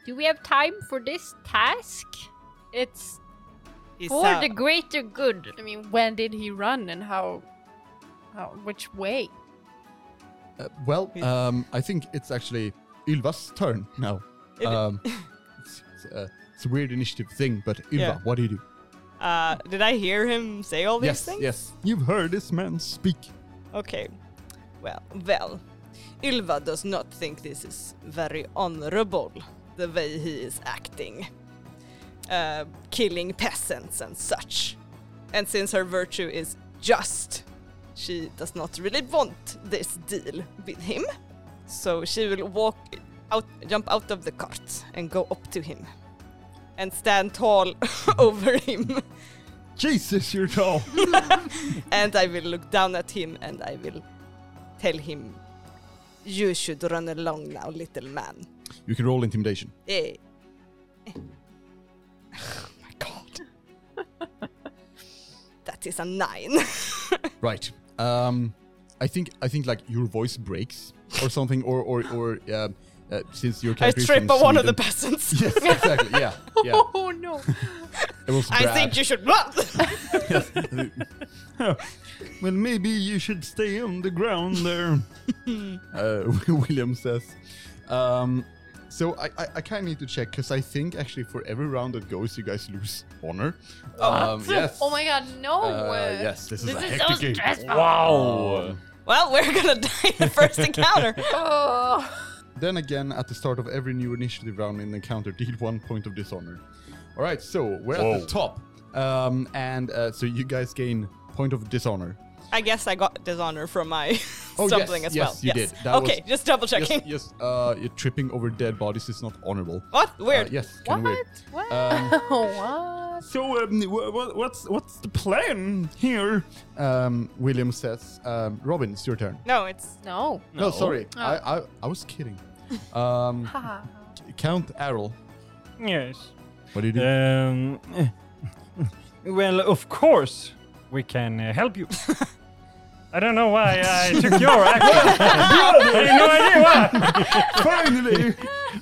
Speaker 1: Do we have time for this task? It's
Speaker 2: He's uh,
Speaker 1: for
Speaker 2: out.
Speaker 1: the greater good.
Speaker 4: I mean, when did he run and how? how which way?
Speaker 3: Uh, well, um, I think it's actually Ylva's turn now.
Speaker 2: It-
Speaker 3: Um, it's, it's, a, it's a weird initiative thing, but Ylva,
Speaker 2: Yeah.
Speaker 3: what do you do?
Speaker 2: Uh, did I hear him say all these
Speaker 3: yes,
Speaker 2: things?
Speaker 3: yes.
Speaker 6: You've heard this man speak.
Speaker 2: Okay. Well, well. Ylva does not think this is very honorable, the way he is acting. Uh, killing peasants and such. And since her virtue is just, she does not really want this deal with him. So she will walk out, jump out of the cart and go up to him. And stand tall over him.
Speaker 6: Jesus, you're tall.
Speaker 2: and I will look down at him and I will tell him, You should run along now, little man.
Speaker 3: You can roll intimidation.
Speaker 2: Eh. Eh. Oh my god. that is a nine.
Speaker 3: Right. Um, I think I think like your voice breaks or something, or or or um, uh, since your
Speaker 2: I
Speaker 3: character is
Speaker 2: trip
Speaker 3: from
Speaker 2: at one of the
Speaker 3: Sweden-
Speaker 2: peasants.
Speaker 3: Yes, exactly. Yeah, yeah.
Speaker 4: Oh no.
Speaker 3: It was
Speaker 2: I
Speaker 3: Brad.
Speaker 2: think you should run.
Speaker 6: well, maybe you should stay on the ground there.
Speaker 3: uh, William says. Um, so I, I, I kind of need to check because I think actually for every round that goes, you guys lose honor. Um, yes.
Speaker 4: Oh my god, no.
Speaker 3: Uh, yes, this is a
Speaker 1: This is so
Speaker 3: hectic game.
Speaker 1: stressful.
Speaker 5: Wow.
Speaker 2: well, we're gonna die the first encounter.
Speaker 4: Oh.
Speaker 3: Then again, at the start of every new initiative round in the encounter, deal one point of dishonor. All right, so we're at the top, um, and uh, so you guys gain point of dishonor.
Speaker 2: I guess I got dishonor from my
Speaker 3: Oh, yes,
Speaker 2: stumbling as
Speaker 3: yes,
Speaker 2: well.
Speaker 3: you
Speaker 2: yes,
Speaker 3: did. That
Speaker 2: okay,
Speaker 3: was-
Speaker 2: just double checking.
Speaker 3: Yes, yes. Uh, you're tripping over dead bodies is not honorable.
Speaker 2: What?
Speaker 3: Uh,
Speaker 2: Weird.
Speaker 3: yes, kind of weird.
Speaker 1: What?
Speaker 3: Um,
Speaker 4: what?
Speaker 6: So, um, wha wha- what's what's the plan here?
Speaker 3: um, William says, um, "Robin, it's your turn."
Speaker 2: No, it's
Speaker 4: No.
Speaker 3: No, sorry, I, I I was kidding. Um, C- Count Errol,
Speaker 7: Yes.
Speaker 3: what do you do?
Speaker 7: Um, well, of course, we can uh, help you. I don't know why I took your action. I have no idea why.
Speaker 6: Finally,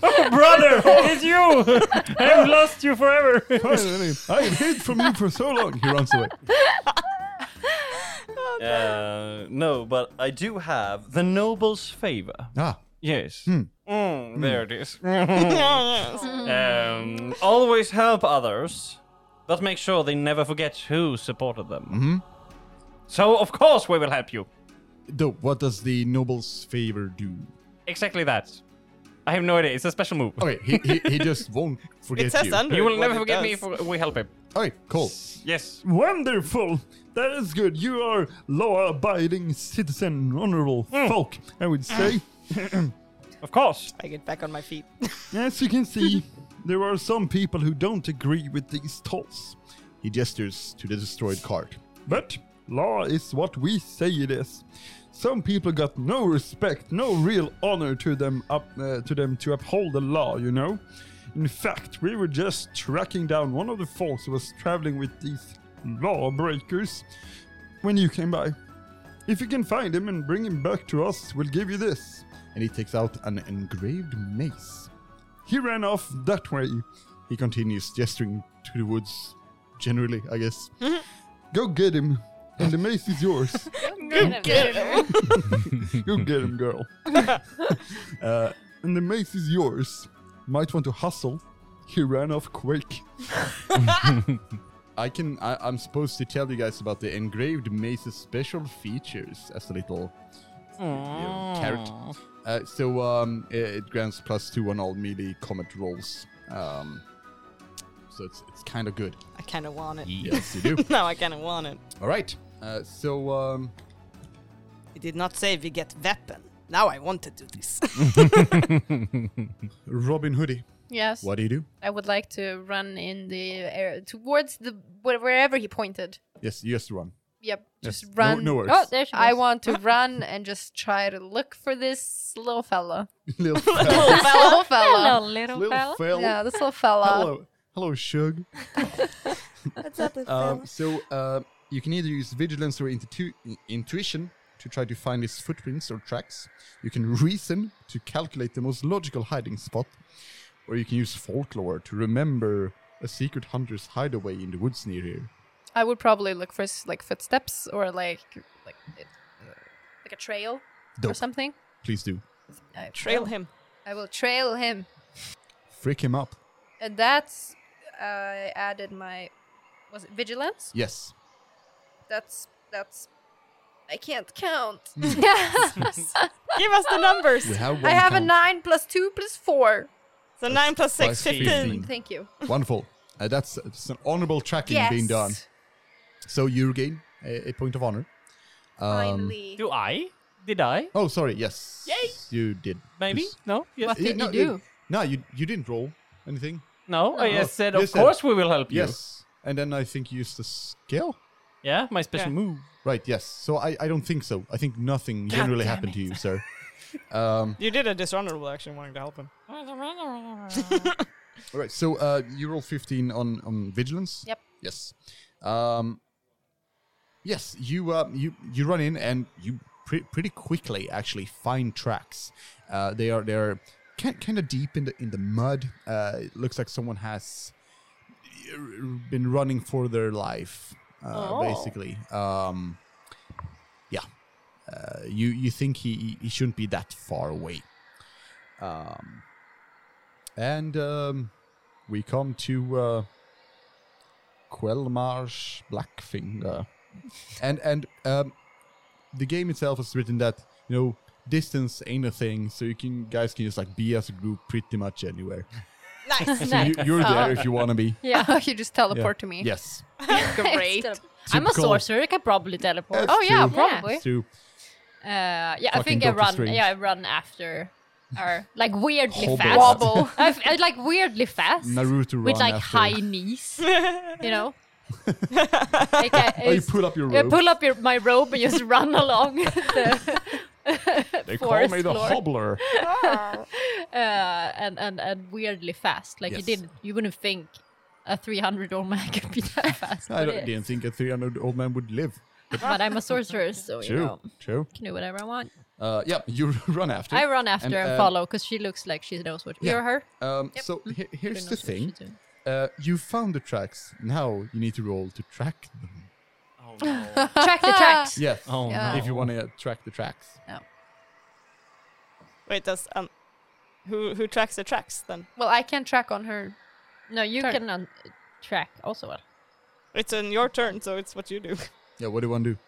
Speaker 7: Oh, brother, it's you. I've lost you forever.
Speaker 6: finally, I have hid from you for so long. He runs away.
Speaker 5: Uh,
Speaker 7: no, but I do have the noble's favor.
Speaker 3: Ah,
Speaker 7: Yes.
Speaker 3: Hmm.
Speaker 7: Mm, there it is. um, always help others, but make sure they never forget who supported them.
Speaker 3: Mm-hmm.
Speaker 7: So, of course, we will help you.
Speaker 3: though, what does the noble's favor do?
Speaker 7: Exactly that. I have no idea. It's a special move.
Speaker 3: Okay, he, he, he just won't forget
Speaker 2: it says
Speaker 3: you.
Speaker 2: under.
Speaker 7: You will
Speaker 2: what
Speaker 7: never
Speaker 2: it
Speaker 7: forget me
Speaker 2: does.
Speaker 7: if we help him.
Speaker 3: Okay, cool.
Speaker 7: Yes.
Speaker 6: Wonderful. That is good. You are law-abiding citizen, honorable folk. I would say.
Speaker 7: Of course.
Speaker 2: I get back on my feet.
Speaker 6: As you can see, there are some people who don't agree with these thoughts.
Speaker 3: He gestures to the destroyed cart.
Speaker 6: But law is what we say it is. Some people got no respect, no real honor to them up uh, to them to uphold the law, you know. In fact, we were just tracking down one of the folks who was traveling with these lawbreakers when you came by. If you can find him and bring him back to us, we'll give you this.
Speaker 3: and he takes out an engraved mace.
Speaker 6: He ran off that way.
Speaker 3: He continues gesturing to the woods, generally, I guess.
Speaker 6: Go get him, and the mace is yours. Go get him, girl. uh, and the mace is yours. Might want to hustle. He ran off quick.
Speaker 3: I can. I, I'm supposed to tell you guys about the engraved mace's special features as a little you know, carrot. Uh, so um, i- it, grants plus two on all melee combat rolls. Um, so it's it's kind of good.
Speaker 2: I kind of want it.
Speaker 3: Yes, you do.
Speaker 2: No, I kind of want it.
Speaker 3: all right. Uh, so um,
Speaker 2: It did not say we get weapon. Now I want to do this.
Speaker 3: Robin Hoodie,
Speaker 4: Yes.
Speaker 3: what do you do?
Speaker 4: I would like to run in the air towards the wh- wherever he pointed.
Speaker 3: Yes, you just run.
Speaker 4: Yep. Just
Speaker 3: Yes. No-
Speaker 4: run.
Speaker 3: no worries.
Speaker 4: Oh,
Speaker 1: there she
Speaker 4: I
Speaker 1: goes.
Speaker 4: want to run and just try to look for this little fella.
Speaker 3: little
Speaker 4: This little fella.
Speaker 1: Hello, little,
Speaker 3: little
Speaker 1: fella.
Speaker 3: fell.
Speaker 4: Yeah, this little fella.
Speaker 3: Hello, hello, Shug.
Speaker 4: What's up with
Speaker 3: Um, so uh, you can either use vigilance or intu- intuition to try to find his footprints or tracks. You can reason to calculate the most logical hiding spot, or you can use folklore to remember a secret hunter's hideaway in the woods near here.
Speaker 4: I would probably look for s- like footsteps or like like it- like a trail or
Speaker 3: Dope.
Speaker 4: something.
Speaker 3: Please do.
Speaker 4: I
Speaker 2: Trail
Speaker 4: will.
Speaker 2: him.
Speaker 4: I will trail him.
Speaker 3: Freak him up.
Speaker 4: And that's I added my was it vigilance?
Speaker 3: Yes.
Speaker 4: That's that's I can't count.
Speaker 2: Give us the numbers.
Speaker 3: We have Hmm. one
Speaker 4: I have a
Speaker 3: count.
Speaker 4: nine plus two plus four.
Speaker 2: So 9 plus 6,
Speaker 3: Plus
Speaker 2: 15.
Speaker 3: 15.
Speaker 4: Thank you.
Speaker 3: Wonderful. Uh, that's, that's an honorable tracking
Speaker 4: Yes.
Speaker 3: being done. So you regain a, a point of honor. Um,
Speaker 4: Finally.
Speaker 5: Do I? Did I?
Speaker 3: Oh, sorry. Yes.
Speaker 5: Yay.
Speaker 3: You did.
Speaker 5: Maybe?
Speaker 3: Yes.
Speaker 5: No? Yes.
Speaker 1: What
Speaker 3: Yeah,
Speaker 1: did
Speaker 3: no,
Speaker 1: you do?
Speaker 3: no, you you didn't roll anything.
Speaker 5: No? I
Speaker 3: No.
Speaker 5: just said,
Speaker 3: You
Speaker 5: of
Speaker 3: said-
Speaker 5: course we will help you.
Speaker 3: Yes. And then I think you used the skill.
Speaker 5: Yeah? My special move.
Speaker 3: Right. Yes. So I, I don't think so. I think nothing generally happened to you, sir. Um,
Speaker 2: You did a dishonorable action wanting to help him.
Speaker 3: all right. So uh, you roll fifteen on on vigilance.
Speaker 4: Yep.
Speaker 3: Yes. Um, yes. You uh, you you run in and you pre- pretty quickly actually find tracks. Uh, they are they're kind of deep in the in the mud. Uh, it looks like someone has uh, been running for their life, uh, basically. Um, yeah, uh, you you think he he- he shouldn't be that far away. Um, and um, we come to uh, Quelmarsh Blackfinger, and and um, the game itself is written that you know distance ain't a thing, so you can guys can just like be as a group pretty much anywhere.
Speaker 2: Nice.
Speaker 3: So you, you're there if you want to be.
Speaker 4: Yeah, you just teleport to me.
Speaker 3: Yes.
Speaker 4: Great.
Speaker 1: I'm a
Speaker 3: Typical.
Speaker 1: sorcerer. I can probably teleport.
Speaker 3: That's
Speaker 4: oh yeah,
Speaker 3: true.
Speaker 4: probably.
Speaker 3: It's true.
Speaker 1: Uh, yeah, I
Speaker 3: Fucking
Speaker 1: think I
Speaker 3: Doctor
Speaker 1: run.
Speaker 3: Strange.
Speaker 1: Yeah, I run after, or like weirdly
Speaker 3: Hobble.
Speaker 1: fast.
Speaker 3: Wobble.
Speaker 1: I, f- I like weirdly fast
Speaker 3: Naruto
Speaker 1: with
Speaker 3: run
Speaker 1: like
Speaker 3: after.
Speaker 1: high knees. You know. like I,
Speaker 3: Oh, you
Speaker 1: it's-
Speaker 3: pull up your
Speaker 1: I
Speaker 3: robe.
Speaker 1: pull up your, my robe and just run along. the,
Speaker 3: they
Speaker 1: forest floor.
Speaker 3: hobbler.
Speaker 1: uh, and and and weirdly fast. Like
Speaker 3: Yes.
Speaker 1: you didn't, you wouldn't think a 300 old man could be that fast.
Speaker 3: I
Speaker 1: but,
Speaker 3: don't,
Speaker 1: it-
Speaker 3: didn't think a 300 old man would live.
Speaker 1: but I'm a sorcerer, so Oh, you
Speaker 3: True,
Speaker 1: know,
Speaker 3: true.
Speaker 1: can do whatever I want.
Speaker 3: Uh, yeah, you run after.
Speaker 1: I run after and,
Speaker 3: uh,
Speaker 1: follow because she looks like she knows what.
Speaker 3: yeah.
Speaker 1: You're her.
Speaker 3: Um, So he- here's the thing: uh, you found the tracks. Now you need to roll to track them.
Speaker 5: Oh, no.
Speaker 1: Track the tracks.
Speaker 3: Yes,
Speaker 5: Oh,
Speaker 4: Yeah.
Speaker 5: no.
Speaker 3: if you want to track the tracks.
Speaker 2: Wait, does um who who tracks the tracks then?
Speaker 4: Well, I can track on her.
Speaker 1: No, you
Speaker 4: Sorry.
Speaker 1: can un- track also.
Speaker 2: It's on your turn, so it's what you do.
Speaker 3: Yeah, what do you want to do?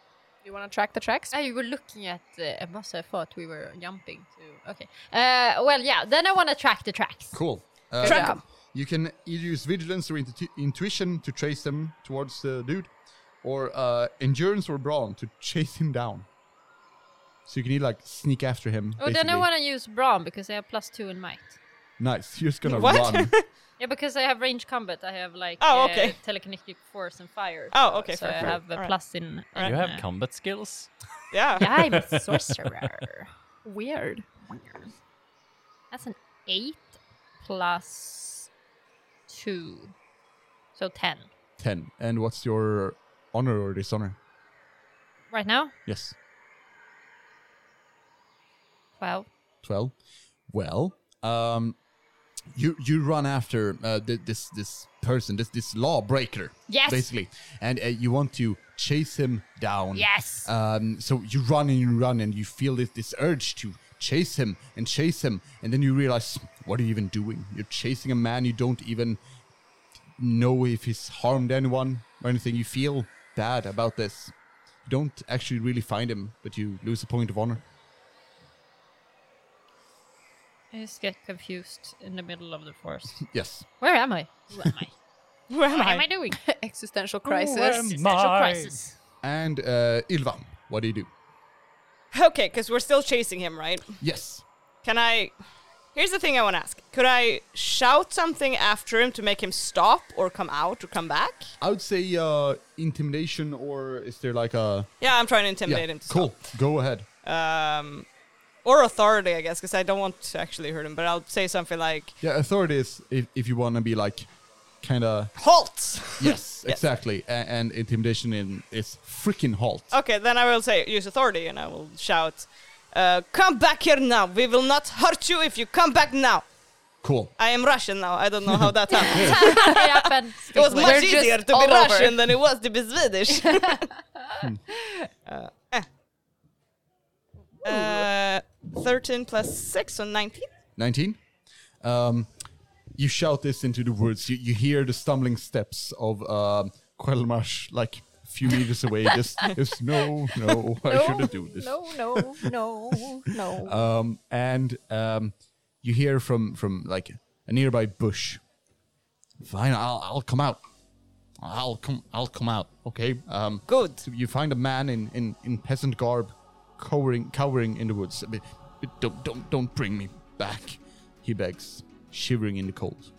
Speaker 4: You want to track the tracks?
Speaker 1: Ah, you were looking at the bus. I thought we were jumping to. Okay. Uh, well, yeah. Then I want to track the tracks.
Speaker 3: Cool. Uh,
Speaker 4: Track 'em.
Speaker 3: You can either use vigilance or intu- intuition to trace them towards the dude, or uh, endurance or brawn to chase him down. So you can either like sneak after him.
Speaker 1: Oh, then I
Speaker 3: basically.
Speaker 1: want to use brawn because I have plus two in might.
Speaker 3: Nice. You're just gonna
Speaker 2: What?
Speaker 3: run.
Speaker 1: Yeah, because I have range combat. I have like
Speaker 2: Oh,
Speaker 1: uh,
Speaker 2: okay.
Speaker 1: telekinetic force and fire.
Speaker 2: Oh,
Speaker 1: so-
Speaker 2: okay,
Speaker 1: So
Speaker 2: fair,
Speaker 1: I
Speaker 2: fair.
Speaker 1: have a
Speaker 2: Alright.
Speaker 1: plus in.
Speaker 5: You
Speaker 1: in,
Speaker 5: have
Speaker 1: uh,
Speaker 5: combat skills?
Speaker 2: Yeah.
Speaker 1: Yeah, I'm a sorcerer.
Speaker 4: Weird.
Speaker 1: That's an eight plus two, so ten.
Speaker 3: Ten. And what's your honor or dishonor?
Speaker 1: Right now,
Speaker 3: Yes.
Speaker 1: twelve.
Speaker 3: 12 well um you you run after uh, th- this this person this this lawbreaker
Speaker 1: Yes.
Speaker 3: basically and uh, you want to chase him down
Speaker 1: Yes.
Speaker 3: um so you run and you run and you feel this, this urge to chase him and chase him and then you realize what are you even doing you're chasing a man you don't even know if he's harmed anyone or anything you feel bad about this you don't actually really find him but you lose a point of honor
Speaker 1: I just get confused in the middle of the forest.
Speaker 3: yes
Speaker 1: Where am I? Who am I?
Speaker 2: Where am
Speaker 1: What am
Speaker 2: I?
Speaker 1: I doing?
Speaker 4: Existential crisis.
Speaker 1: Existential crisis.
Speaker 3: And uh, Ilva, what do you do?
Speaker 2: Okay, because we're still chasing him, right?
Speaker 3: Yes.
Speaker 2: Can I? Here's the thing I want to ask. Could I shout something after him to make him stop or come out or come back?
Speaker 3: I would say uh, intimidation, or is there like a.
Speaker 2: Yeah, I'm trying to intimidate him to
Speaker 3: cool. Go ahead.
Speaker 2: stop. Um, or authority, I guess, because I don't want to actually hurt him, but I'll say something like,
Speaker 3: Yeah, authority is if, if you want to be like kind of.
Speaker 2: halt!
Speaker 3: Yes, exactly. A- and intimidation in is freaking halt.
Speaker 2: Okay, then I will say, use authority, and I will shout, uh, come back here now! We will not hurt you if you come back now!
Speaker 3: Cool.
Speaker 2: I am Russian now. I don't know how that happened.
Speaker 1: it happened.
Speaker 2: it was
Speaker 4: We're
Speaker 2: much
Speaker 4: just
Speaker 2: easier to
Speaker 4: all
Speaker 2: be
Speaker 4: over.
Speaker 2: Russian than it was to be Swedish. uh, eh. Uh, 13 plus 6, so 19.
Speaker 3: 19. Um, you shout this into the woods. You, you hear the stumbling steps of um, Quelmash, like a few meters away. Just, just no, no, I shouldn't do this.
Speaker 4: No, no, no, no.
Speaker 3: Um, and um, you hear from, from like a nearby bush. Fine, I'll, I'll come out. I'll come, I'll come out. Okay. Um,
Speaker 2: Good.
Speaker 3: so you find a man in, in, in peasant garb, cowering cowering in the woods. I mean, Don't don't don't bring me back, he begs, shivering in the cold.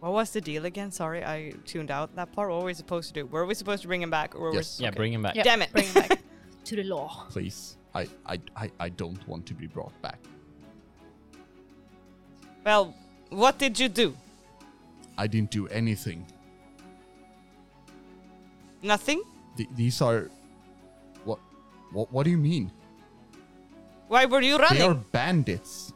Speaker 2: What was the deal again? Sorry, I tuned out that part. What were we supposed to do? Were we supposed to bring him back? Or were we
Speaker 3: Yes.
Speaker 5: Yeah, bring him back.
Speaker 2: Damn it.
Speaker 4: Bring it back to the law.
Speaker 3: Please, I I, I, I don't want to be brought back.
Speaker 2: Well, what did you do?
Speaker 3: I didn't do anything.
Speaker 2: Nothing?
Speaker 3: Th- these are, what, what what do you mean?
Speaker 2: Why were you
Speaker 3: They are
Speaker 2: running?
Speaker 3: bandits.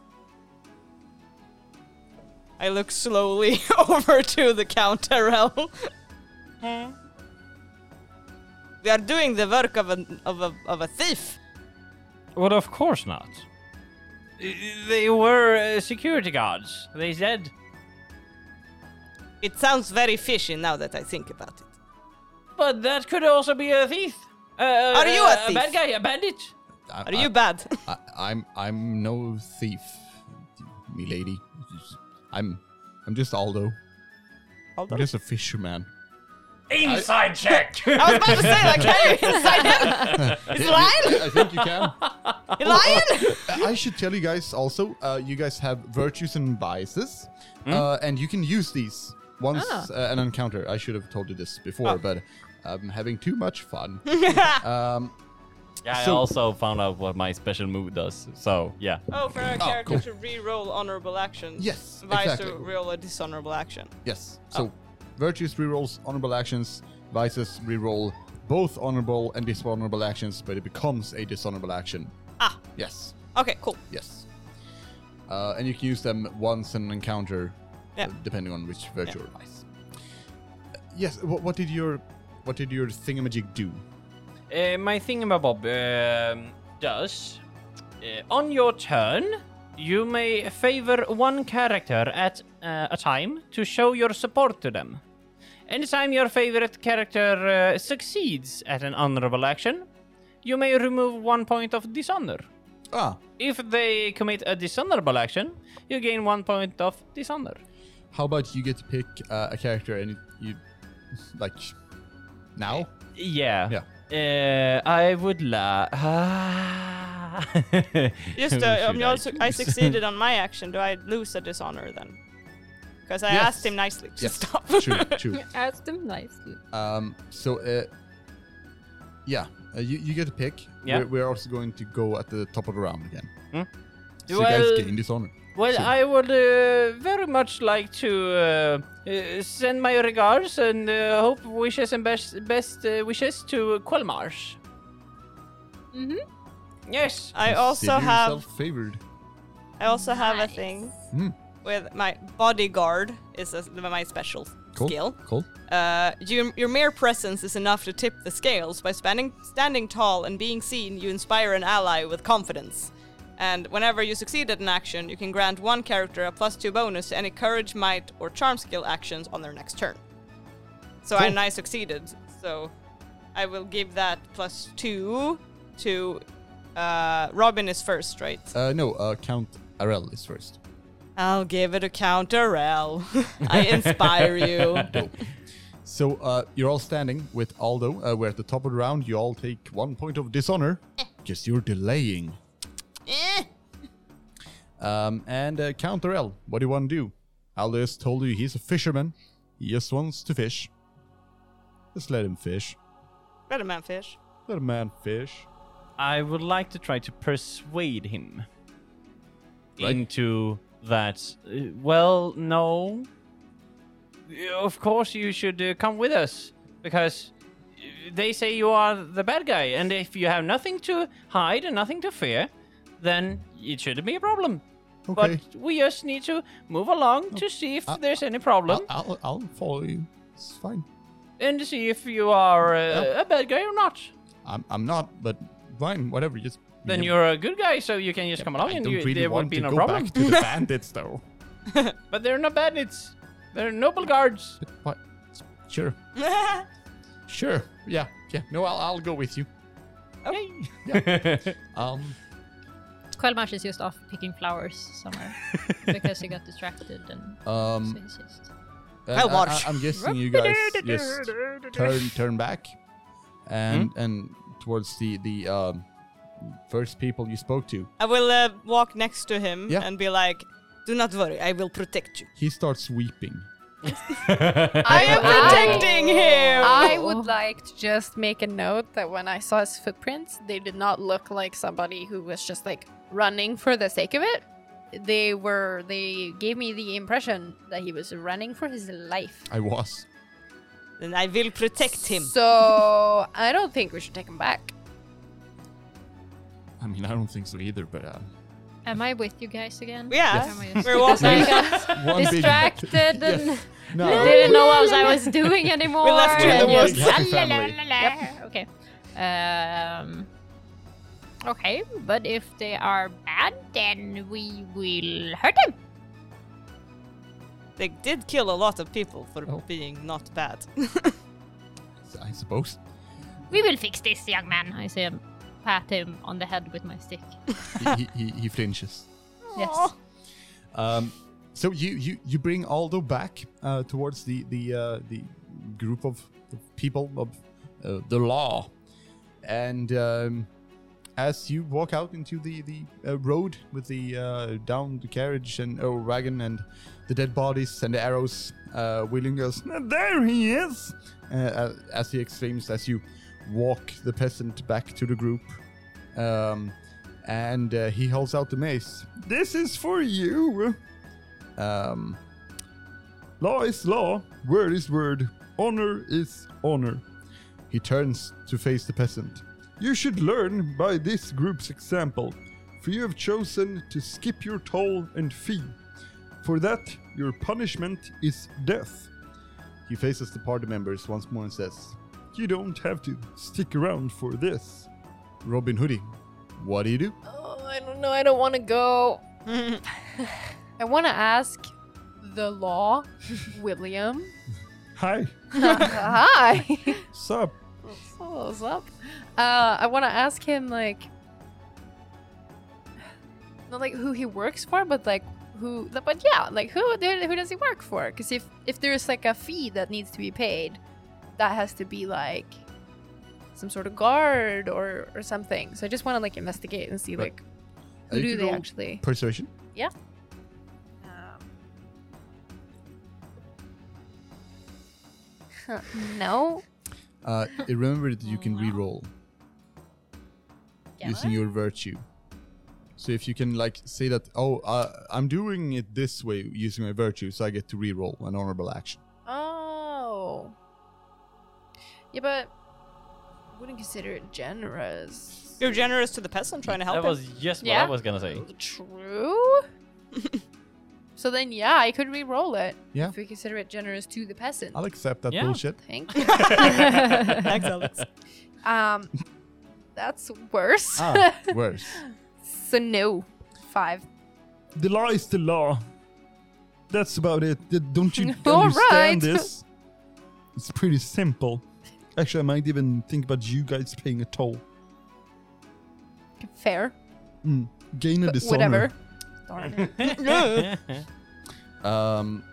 Speaker 2: I look slowly over to the Count Tyrell. we are doing the work of a, of a, of a thief.
Speaker 5: Well, of course not. Uh, They were uh, security guards. They said.
Speaker 2: It sounds very fishy now that I think about it.
Speaker 5: But that could also be a thief. Uh,
Speaker 2: Are you a
Speaker 5: uh,
Speaker 2: thief?
Speaker 5: bad guy, a bandit.
Speaker 3: I,
Speaker 2: Are you bad?
Speaker 3: I, I'm I'm no thief, milady. I'm I'm just Aldo. I'm just a fisherman.
Speaker 7: Inside check.
Speaker 2: I was about to say, like, hey, inside
Speaker 3: Is
Speaker 2: lying?
Speaker 3: I think you can.
Speaker 2: him. Lion?
Speaker 3: I should tell you guys also, uh, you guys have virtues and biases, uh, and you can use these once uh, an encounter. I should have told you this before, but I'm having too much fun. um,
Speaker 5: Yeah,
Speaker 3: So-
Speaker 5: I also found out what my special move does. So yeah,
Speaker 2: Oh, for a character
Speaker 3: cool.
Speaker 2: to re-roll honorable actions.
Speaker 3: Yes,
Speaker 2: Vice
Speaker 3: exactly.
Speaker 2: to roll a dishonorable action. Ah.
Speaker 3: yes. So virtues rerolls honorable actions, vices reroll both honorable and dishonorable actions, but it becomes a dishonorable action.
Speaker 2: Ah.
Speaker 3: Yes.
Speaker 2: Okay, cool.
Speaker 3: Yes. Uh, and you can use them once in an encounter,
Speaker 2: Yeah.
Speaker 3: uh, depending on which virtue or vice. Uh, yes. What, what did your what did your thingamajig do?
Speaker 5: uh, my thingamabob um, does. Uh, on your turn, you may favor one character at uh, a time to show your support to them. Anytime your favorite character uh, succeeds at an honorable action, you may remove one point of dishonor.
Speaker 3: Ah.
Speaker 5: If they commit a dishonorable action, you gain one point of dishonor.
Speaker 3: How about you get to pick uh, a character and you like now?
Speaker 5: Yeah.
Speaker 3: Yeah.
Speaker 5: Uh, I would la.
Speaker 2: Just,
Speaker 5: Should
Speaker 2: uh, um,
Speaker 5: I
Speaker 2: also, I
Speaker 5: choose?
Speaker 2: succeeded on my action. Do I lose a dishonor then? Because I
Speaker 3: Yes.
Speaker 2: asked him nicely to
Speaker 3: Yes.
Speaker 2: stop.
Speaker 3: True. True.
Speaker 1: Ask them nicely.
Speaker 3: Um, so, uh, yeah, uh, you, you get to pick.
Speaker 5: Yeah.
Speaker 3: We're, we're also going to go at the top of the round again.
Speaker 5: Hmm.
Speaker 3: So you
Speaker 5: Well-
Speaker 3: guys gain dishonor.
Speaker 5: Well,
Speaker 3: Sure.
Speaker 5: I would uh, very much like to uh, uh, send my regards and uh, hope wishes and best best uh, wishes to Quelmarsh.
Speaker 1: Mm-hmm.
Speaker 5: Yes.
Speaker 2: I also
Speaker 3: Consider
Speaker 2: have
Speaker 3: yourself favored.
Speaker 2: I also have a
Speaker 1: Nice.
Speaker 2: thing
Speaker 3: Hmm.
Speaker 2: with my bodyguard is a, my special
Speaker 3: Cool.
Speaker 2: skill.
Speaker 3: Cool.
Speaker 2: Uh, your, your mere presence is enough to tip the scales. By standing, standing tall and being seen, you inspire an ally with confidence. And whenever you succeed at an action, you can grant one character a plus two bonus to any courage, might, or charm skill actions on their next turn. So I and I succeeded. So I will give that plus two to uh, Robin is first, right?
Speaker 3: Uh, no, uh, Count Arel is first.
Speaker 2: I'll give it a counter L. I inspire you.
Speaker 3: So uh, you're all standing with Aldo. Uh, we're at the top of the round. You all take one point of dishonor
Speaker 5: Eh.
Speaker 3: because you're delaying. um, and uh, Count Arel, what do you want to do? Aldo has told you he's a fisherman. He just wants to fish. Just let him fish.
Speaker 2: Better man fish.
Speaker 3: Let a man fish.
Speaker 5: I would like to try to persuade him
Speaker 3: Right.
Speaker 5: into that. uh, well, no. Uh, Of course, you should uh, come with us because uh, they say you are the bad guy, and if you have nothing to hide and nothing to fear, then it shouldn't be a problem.
Speaker 3: Okay. Oh, uh,
Speaker 5: But we just need to move along to see if
Speaker 3: I-
Speaker 5: there's any problem
Speaker 3: I'll, I'll, I'll follow you. It's fine.
Speaker 5: and see if you are uh, a bad guy or not.
Speaker 3: I'm, I'm not, but fine, whatever. Just
Speaker 5: then you're a good guy, so you can just come along
Speaker 3: I
Speaker 5: and
Speaker 3: don't
Speaker 5: you,
Speaker 3: really
Speaker 5: there
Speaker 3: want
Speaker 5: won't be
Speaker 3: to
Speaker 5: no
Speaker 3: go
Speaker 5: problem.
Speaker 3: back to the bandits, though.
Speaker 5: But they're not bandits. They're noble guards.
Speaker 3: What? Sure. Sure. Yeah. Yeah. No, I'll, I'll go with you.
Speaker 5: Okay.
Speaker 3: Um.
Speaker 1: Quelmash is just off picking flowers somewhere because he got distracted and so
Speaker 3: Um.
Speaker 1: he's just-
Speaker 3: and
Speaker 2: I'll
Speaker 3: I-
Speaker 2: watch.
Speaker 3: I, am guessing you guys just turn turn back, and and towards the the um, first people you spoke to.
Speaker 2: I will uh, walk next to him
Speaker 3: Yeah.
Speaker 2: and be like, "Do not worry, I will protect you."
Speaker 3: He starts weeping.
Speaker 2: I
Speaker 4: Ah.
Speaker 2: am protecting him.
Speaker 4: I would like to just make a note that when I saw his footprints, they did not look like somebody who was just like running for the sake of it. They were, they gave me the impression that he was running for his life.
Speaker 3: I was.
Speaker 2: Then I will protect him.
Speaker 4: So I don't think we should take him back.
Speaker 3: I mean, I don't think so either. But um,
Speaker 1: Am I with you guys again?
Speaker 2: Yeah,
Speaker 1: Am I just-
Speaker 2: we're walking.
Speaker 1: I got
Speaker 3: one big-
Speaker 1: distracted and
Speaker 3: Yes. No.
Speaker 1: didn't know what I was doing anymore.
Speaker 2: left you in
Speaker 1: and
Speaker 2: the woods.
Speaker 1: just-
Speaker 3: Happy family.
Speaker 1: la, la, la, la. Okay. Um, okay, but if they are bad, then we will hurt them.
Speaker 2: they did kill a lot of people for
Speaker 3: Oh.
Speaker 2: being not bad.
Speaker 3: I suppose.
Speaker 1: We will fix this young man. I say, um, pat him on the head with my stick.
Speaker 3: He- he, he, he flinches.
Speaker 1: Yes.
Speaker 3: Um, so you, you you bring Aldo back uh, towards the the uh, the group of people of uh, the law, and um, as you walk out into the the uh, road with the uh, down the carriage and uh, wagon and the dead bodies and the arrows, uh, William goes, "There he is!" Uh, uh, as he exclaims as you walk the peasant back to the group. Um, and uh, he holds out the mace.
Speaker 6: This is for you.
Speaker 3: Um,
Speaker 6: Law is law, word is word, honor is honor.
Speaker 3: he turns to face the peasant.
Speaker 6: You should learn by this group's example, for you have chosen to skip your toll and fee. For that, your punishment is death.
Speaker 3: He faces the party members once more and says,
Speaker 6: You don't have to stick around for this.
Speaker 3: Robin Hoodie, what do you do?
Speaker 4: Oh, I don't know. I don't want to go. I want to ask the law, William.
Speaker 6: Hi,
Speaker 4: Hi.
Speaker 6: sup?
Speaker 4: Oh, what's up? Uh, I want to ask him like, not like who he works for, but like who. But yeah, like who who does he work for? Because if if there's like a fee that needs to be paid, that has to be like some sort of guard or or something. So I just want to like investigate and see
Speaker 3: Right.
Speaker 4: like who
Speaker 3: You
Speaker 4: do
Speaker 3: can
Speaker 4: they
Speaker 3: roll
Speaker 4: actually.
Speaker 3: Persuasion.
Speaker 4: Huh, no.
Speaker 3: Uh, remember that you can re-roll using your virtue. So if you can like say that, oh, uh, I'm doing it this way using my virtue, so I get to re-roll an honorable action.
Speaker 4: Oh. Yeah, but I wouldn't consider it generous.
Speaker 2: You're generous to the peasant, trying to help
Speaker 5: That
Speaker 2: him.
Speaker 5: was just what
Speaker 1: Yeah.
Speaker 5: I was gonna say.
Speaker 4: True. so then, yeah, I could re-roll it.
Speaker 3: Yeah.
Speaker 4: If we consider it generous to the peasant.
Speaker 3: I'll accept that
Speaker 5: Yeah.
Speaker 3: bullshit.
Speaker 4: Thank you.
Speaker 2: Thanks, Alex.
Speaker 4: um, that's worse.
Speaker 3: Ah, worse.
Speaker 4: so no, five.
Speaker 6: The law is the law. That's about it. D- Don't you
Speaker 4: All
Speaker 6: understand
Speaker 4: right.
Speaker 6: this? It's pretty simple. Actually, I might even think about you guys paying a toll.
Speaker 4: Fair.
Speaker 6: Mm. Gain a
Speaker 4: But
Speaker 6: dishonor.
Speaker 4: whatever. Darn it.
Speaker 3: Um,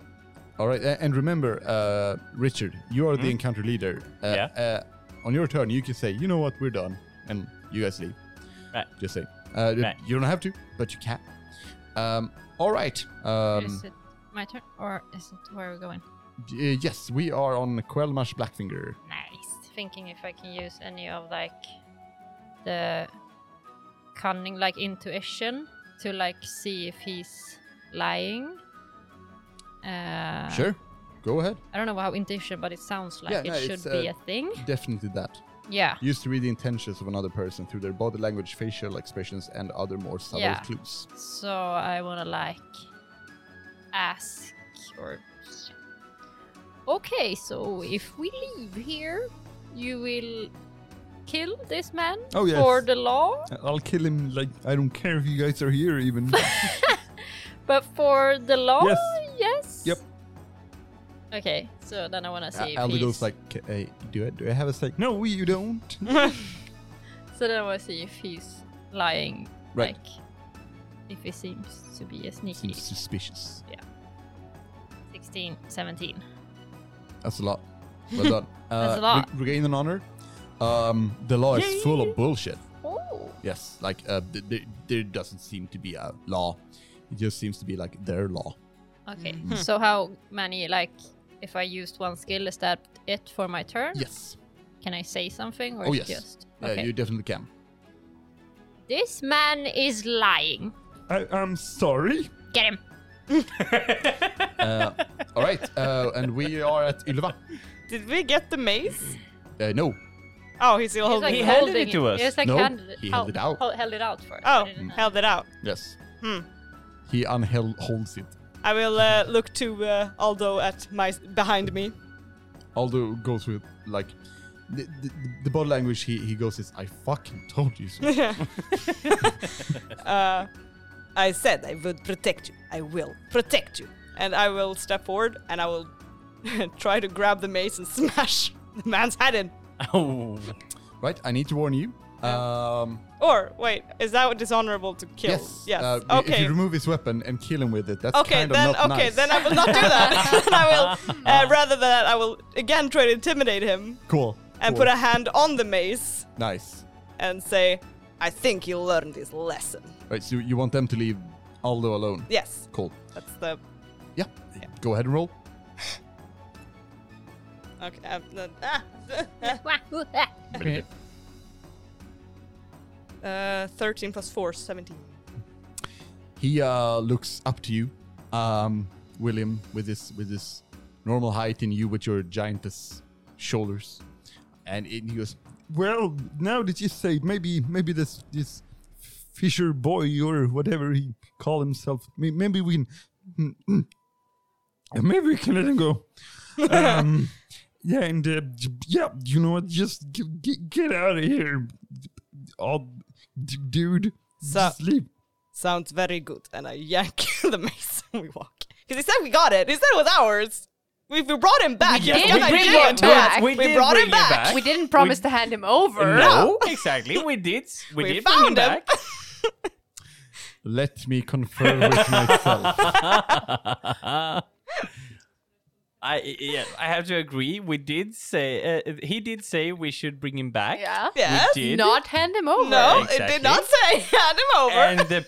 Speaker 3: all right, a- and remember, uh, Richard, you
Speaker 6: Hmm?
Speaker 3: are the encounter leader. Uh,
Speaker 5: Yeah.
Speaker 3: Uh, on your turn, you can say, "You know what? We're done," and you guys leave.
Speaker 5: Right.
Speaker 3: Just say. Uh, d-
Speaker 5: Right.
Speaker 3: You don't have to, but you can. Um, all right. Um,
Speaker 1: is it my turn, or is it where are we going?
Speaker 3: y- yes, we are on Quelmash Blackfinger.
Speaker 1: Nice. Thinking if I can use any of like the cunning, like intuition, to like see if he's lying. Uh,
Speaker 3: sure, go ahead.
Speaker 1: I don't know how intuition, but it sounds like
Speaker 3: Yeah,
Speaker 1: it
Speaker 3: no,
Speaker 1: should
Speaker 3: it's,
Speaker 1: be
Speaker 3: uh,
Speaker 1: a thing.
Speaker 3: Definitely that.
Speaker 1: Yeah.
Speaker 3: Used to read the intentions of another person through their body language, facial expressions, and other more subtle
Speaker 1: Yeah.
Speaker 3: clues.
Speaker 1: So I want to like ask or. Okay, so if we leave here, you will kill this man
Speaker 6: Oh, yes.
Speaker 1: for the law,
Speaker 6: I'll kill him. Like I don't care if you guys are here. Even
Speaker 1: but for the law,
Speaker 6: Yes.
Speaker 1: yes?
Speaker 6: Yep.
Speaker 1: Okay, so then I want to see.
Speaker 3: Alder
Speaker 1: if he's,
Speaker 3: goes like, "K- uh, do I, do I have a sec?
Speaker 6: no, you don't.
Speaker 1: So then I want to see if he's lying.
Speaker 3: Right.
Speaker 1: Like, if he seems to be a sneaky.
Speaker 3: Seems suspicious.
Speaker 1: 16, 17.
Speaker 3: That's a lot. Well done. Uh,
Speaker 1: That's a lot.
Speaker 3: re- regain an honor. Um, the law is full of bullshit.
Speaker 1: Oh.
Speaker 3: Yes, like uh, th- th- there doesn't seem to be a law. It just seems to be like their law.
Speaker 1: Okay.
Speaker 3: Mm-hmm.
Speaker 1: So how many like if I used one skill, is that it for my turn?
Speaker 3: Yes.
Speaker 1: Can I say something or
Speaker 3: Oh
Speaker 1: it's
Speaker 3: yes.
Speaker 1: just
Speaker 3: Yeah, you definitely can.
Speaker 1: This man is lying.
Speaker 6: I, I'm sorry.
Speaker 1: Get him.
Speaker 3: Uh, all right, uh, and we are at Ylva.
Speaker 2: Did we get the maze?
Speaker 3: Uh, no,
Speaker 2: Oh, he's still
Speaker 1: He's
Speaker 2: holding
Speaker 1: like
Speaker 2: it.
Speaker 5: handed
Speaker 1: holding
Speaker 5: it to us.
Speaker 1: He's like
Speaker 3: No,
Speaker 1: handed it,
Speaker 3: he held it out.
Speaker 1: held- held it out for us. I
Speaker 2: Oh,
Speaker 1: didn't know.
Speaker 2: held it out.
Speaker 3: yes.
Speaker 2: Hmm.
Speaker 3: He unheld holds it.
Speaker 2: I will uh, look to uh, Aldo at my behind me.
Speaker 3: Aldo goes with like the, the, the body language. He he goes is I fucking told you so.
Speaker 2: Uh, I said I would protect you. I will protect you. And I will step forward and I will try to grab the mace and smash the man's head in.
Speaker 5: Oh,
Speaker 3: right, I need to warn you. Um,
Speaker 2: Or wait, is that dishonorable to kill?
Speaker 3: yes,
Speaker 2: Yes.
Speaker 3: uh, i- If
Speaker 2: okay.
Speaker 3: you remove his weapon and kill him with it, that's
Speaker 2: Okay,
Speaker 3: kind of
Speaker 2: then
Speaker 3: not
Speaker 2: okay,
Speaker 3: nice.
Speaker 2: then I will not do that. Then I will uh, rather than that, I will again try to intimidate him
Speaker 3: cool.
Speaker 2: and
Speaker 3: cool.
Speaker 2: put a hand on the mace
Speaker 3: nice.
Speaker 2: and say, "I think you learned this lesson."
Speaker 3: Right, so you want them to leave Aldo alone?
Speaker 2: Yes,
Speaker 3: Cool.
Speaker 2: that's the
Speaker 3: Yeah. Go ahead and roll.
Speaker 2: okay. Um, uh, ah,
Speaker 1: Wah, woo, ah.
Speaker 2: Uh, 13 plus 4, 17.
Speaker 3: He uh, looks up to you, um, William, with his with his normal height and you with your giantess shoulders, and it, he goes,
Speaker 6: Well, now that you say it, maybe maybe this this Fisher boy or whatever he call himself, may- maybe we can mm, mm, maybe we can let him go. um, yeah, and uh, j- yeah, you know what? Just g- g- get out of here, all d- dude.
Speaker 2: So-
Speaker 6: just leave.
Speaker 2: Sounds very good. And I yank the mace and we walk. Because he said we got it. He said it was ours. We, we brought him back. We
Speaker 4: did bring him back.
Speaker 2: We,
Speaker 5: did
Speaker 2: brought
Speaker 5: bring
Speaker 2: him back.
Speaker 4: We didn't promise to hand him over.
Speaker 5: No, exactly. We did.
Speaker 2: We
Speaker 5: We, did bring
Speaker 2: found
Speaker 5: him
Speaker 2: him.
Speaker 5: back.
Speaker 3: "Let me confer with myself."
Speaker 5: I yeah, I have to agree. We did say uh, he did say we should bring him back.
Speaker 4: Yeah.
Speaker 2: Yes.
Speaker 5: we did.
Speaker 4: Not hand him over.
Speaker 2: No, it
Speaker 5: Exactly.
Speaker 2: did not say hand him over.
Speaker 5: And the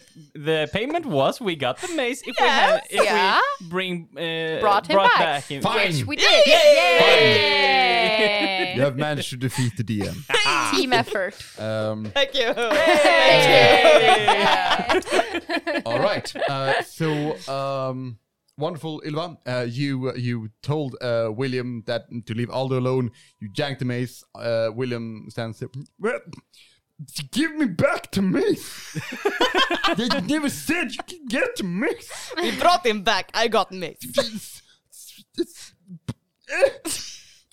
Speaker 5: the payment was we got the mace if
Speaker 2: Yes.
Speaker 5: we had, if
Speaker 4: Yeah.
Speaker 5: we bring uh,
Speaker 4: Brought him back.
Speaker 5: him.
Speaker 3: Fine.
Speaker 4: Which we did. Yay!
Speaker 3: you have managed to defeat the DM.
Speaker 4: Team effort.
Speaker 3: Um,
Speaker 2: Thank you.
Speaker 3: all right. Uh, so, um, wonderful, Ilva. Uh, you you told uh, William that to leave Aldo alone. You janked the mace. Uh, William stands there.
Speaker 6: Well, give me back to me. they never said you could get to me.
Speaker 2: we brought him back. I got mace.
Speaker 6: It's- it's-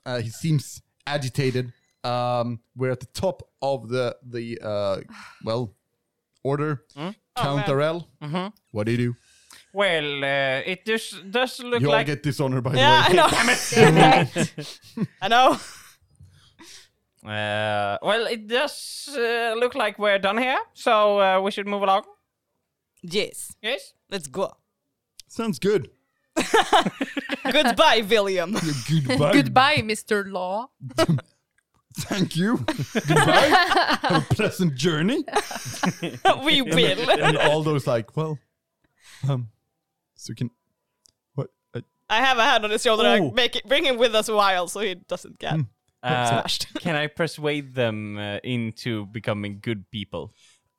Speaker 3: Uh, he seems agitated. Um, we're at the top of the the uh, well order. Count
Speaker 2: Oh,
Speaker 3: Arel, what do you do?
Speaker 5: Well, uh, it does does look
Speaker 3: you all
Speaker 5: like
Speaker 3: get dishonor by
Speaker 2: Yeah, I
Speaker 3: the way.
Speaker 2: know. I know.
Speaker 5: uh, well it does uh, look like we're done here. So uh, we should move along.
Speaker 2: Yes.
Speaker 5: Yes.
Speaker 2: Let's go.
Speaker 6: Sounds good.
Speaker 2: Goodbye, William.
Speaker 6: Goodbye.
Speaker 4: Goodbye, Mr. Law.
Speaker 6: Thank you. Goodbye. Have a pleasant journey.
Speaker 2: we will.
Speaker 3: and all those like, well,
Speaker 6: Um, so can what? Uh,
Speaker 2: I have a hand on his shoulder. I
Speaker 6: Ooh.
Speaker 2: make it, bring him with us a while so he doesn't get
Speaker 5: Uh,
Speaker 2: smashed.
Speaker 5: Can I persuade them uh, into becoming good people?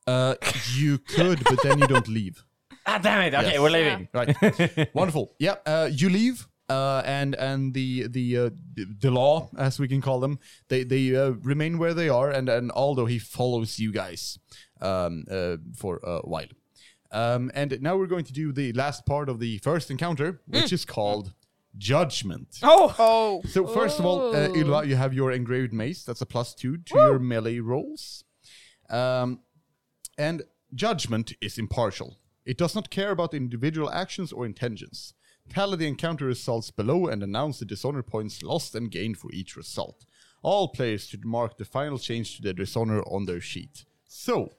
Speaker 3: uh, you could, but then you don't leave.
Speaker 5: Ah, damn it! Okay,
Speaker 3: Yes.
Speaker 5: we're leaving.
Speaker 3: Right. Wonderful. Yeah. Uh, you leave, uh, and and the the uh, d- the law, as we can call them, they they uh, remain where they are, and and Aldo he follows you guys, um, uh, for a while, um, and now we're going to do the last part of the first encounter, which is called Judgment.
Speaker 2: Oh,
Speaker 4: Oh.
Speaker 3: So first of all, uh, Ylva, you have your engraved mace. That's a plus two to your melee rolls. Um, and judgment is impartial. It does not care about individual actions or intentions. Tally the encounter results below and announce the dishonor points lost and gained for each result. All players should mark the final change to the dishonor on their sheet. So,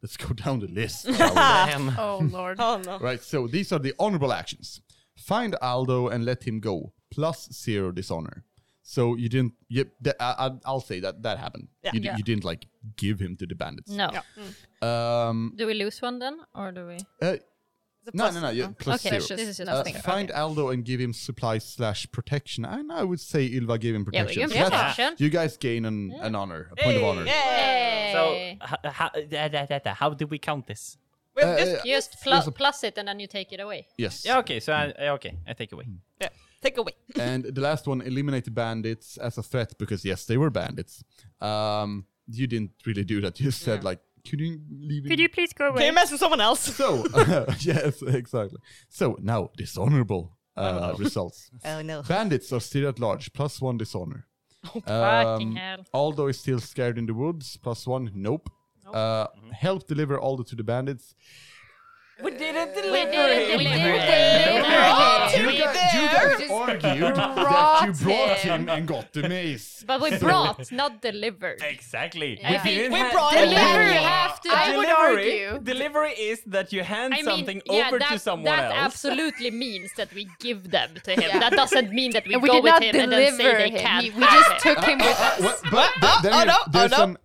Speaker 3: let's go down the list. shall we?
Speaker 4: Oh, Lord.
Speaker 2: oh no.
Speaker 3: Right, so these are the honorable actions. Find Aldo and let him go. Plus zero dishonor. So you didn't. Yep, th- I, I, I'll say that that happened. You, di-
Speaker 1: Yeah.
Speaker 3: you didn't like give him to the bandits.
Speaker 1: No.
Speaker 3: Um.
Speaker 1: Do we lose one then, or do we?
Speaker 3: uh,
Speaker 2: It's a
Speaker 3: no,
Speaker 2: plus-
Speaker 3: no, no. Yeah, plus
Speaker 1: okay,
Speaker 3: zero.
Speaker 1: this is just
Speaker 3: Uh,
Speaker 1: nothing.
Speaker 3: find Aldo and give him supplies slash protection. And I would say Ilva gave him
Speaker 1: Yeah, we
Speaker 3: protection.
Speaker 1: give
Speaker 3: So
Speaker 1: him
Speaker 3: that's-
Speaker 1: protection.
Speaker 3: You guys gain an, an honor, a point of
Speaker 2: Hey,
Speaker 3: honor.
Speaker 2: yeah.
Speaker 5: So,
Speaker 1: Yay.
Speaker 5: h- how, da, da, da, da, how do we count this?
Speaker 2: Well,
Speaker 3: Uh,
Speaker 2: just
Speaker 3: uh,
Speaker 1: You just plu-
Speaker 3: there's a-
Speaker 1: plus it and then you take it away.
Speaker 3: Yes.
Speaker 5: Yeah, okay, so I, okay, I take away.
Speaker 2: yeah, take away.
Speaker 3: and the last one eliminate the bandits as a threat because yes they were bandits um you didn't really do that you said like could you leave could
Speaker 1: please go
Speaker 2: Can you mess with someone else?
Speaker 3: so yes exactly so now dishonorable uh, results
Speaker 2: Oh no.
Speaker 3: bandits are still at large plus one dishonor
Speaker 5: Um,
Speaker 1: Fucking hell.
Speaker 3: Aldo is still scared in the woods plus one nope, Uh,
Speaker 2: Mm-hmm.
Speaker 3: help deliver Aldo to the bandits.
Speaker 2: We didn't
Speaker 1: We did it, we did
Speaker 2: Oh,
Speaker 1: it,
Speaker 2: to
Speaker 1: we
Speaker 2: be
Speaker 1: did it.
Speaker 3: You
Speaker 2: there.
Speaker 3: guys argued that
Speaker 1: brought
Speaker 3: you brought
Speaker 1: him.
Speaker 3: him and got the mace.
Speaker 1: But we brought, not delivered.
Speaker 5: Exactly.
Speaker 1: I think
Speaker 5: didn't
Speaker 2: we
Speaker 5: have-
Speaker 2: brought
Speaker 1: Deliver,
Speaker 2: it
Speaker 1: you
Speaker 2: back.
Speaker 1: have to.
Speaker 4: I would
Speaker 5: delivery,
Speaker 4: argue-
Speaker 5: delivery is that you hand
Speaker 1: I
Speaker 5: something
Speaker 1: mean, yeah,
Speaker 5: over
Speaker 1: that,
Speaker 5: to someone
Speaker 1: that
Speaker 5: else.
Speaker 1: absolutely means that we give them to him.
Speaker 4: Yeah.
Speaker 1: That doesn't mean that we,
Speaker 4: And we
Speaker 1: go
Speaker 4: did
Speaker 1: with
Speaker 4: not
Speaker 1: him and then say
Speaker 4: deliver
Speaker 1: they
Speaker 4: him.
Speaker 1: can't.
Speaker 4: He- we just took him with
Speaker 3: Uh,
Speaker 4: us.
Speaker 3: what- but th- then
Speaker 2: oh,
Speaker 3: you-
Speaker 2: no, oh,
Speaker 3: there's
Speaker 2: no.
Speaker 3: an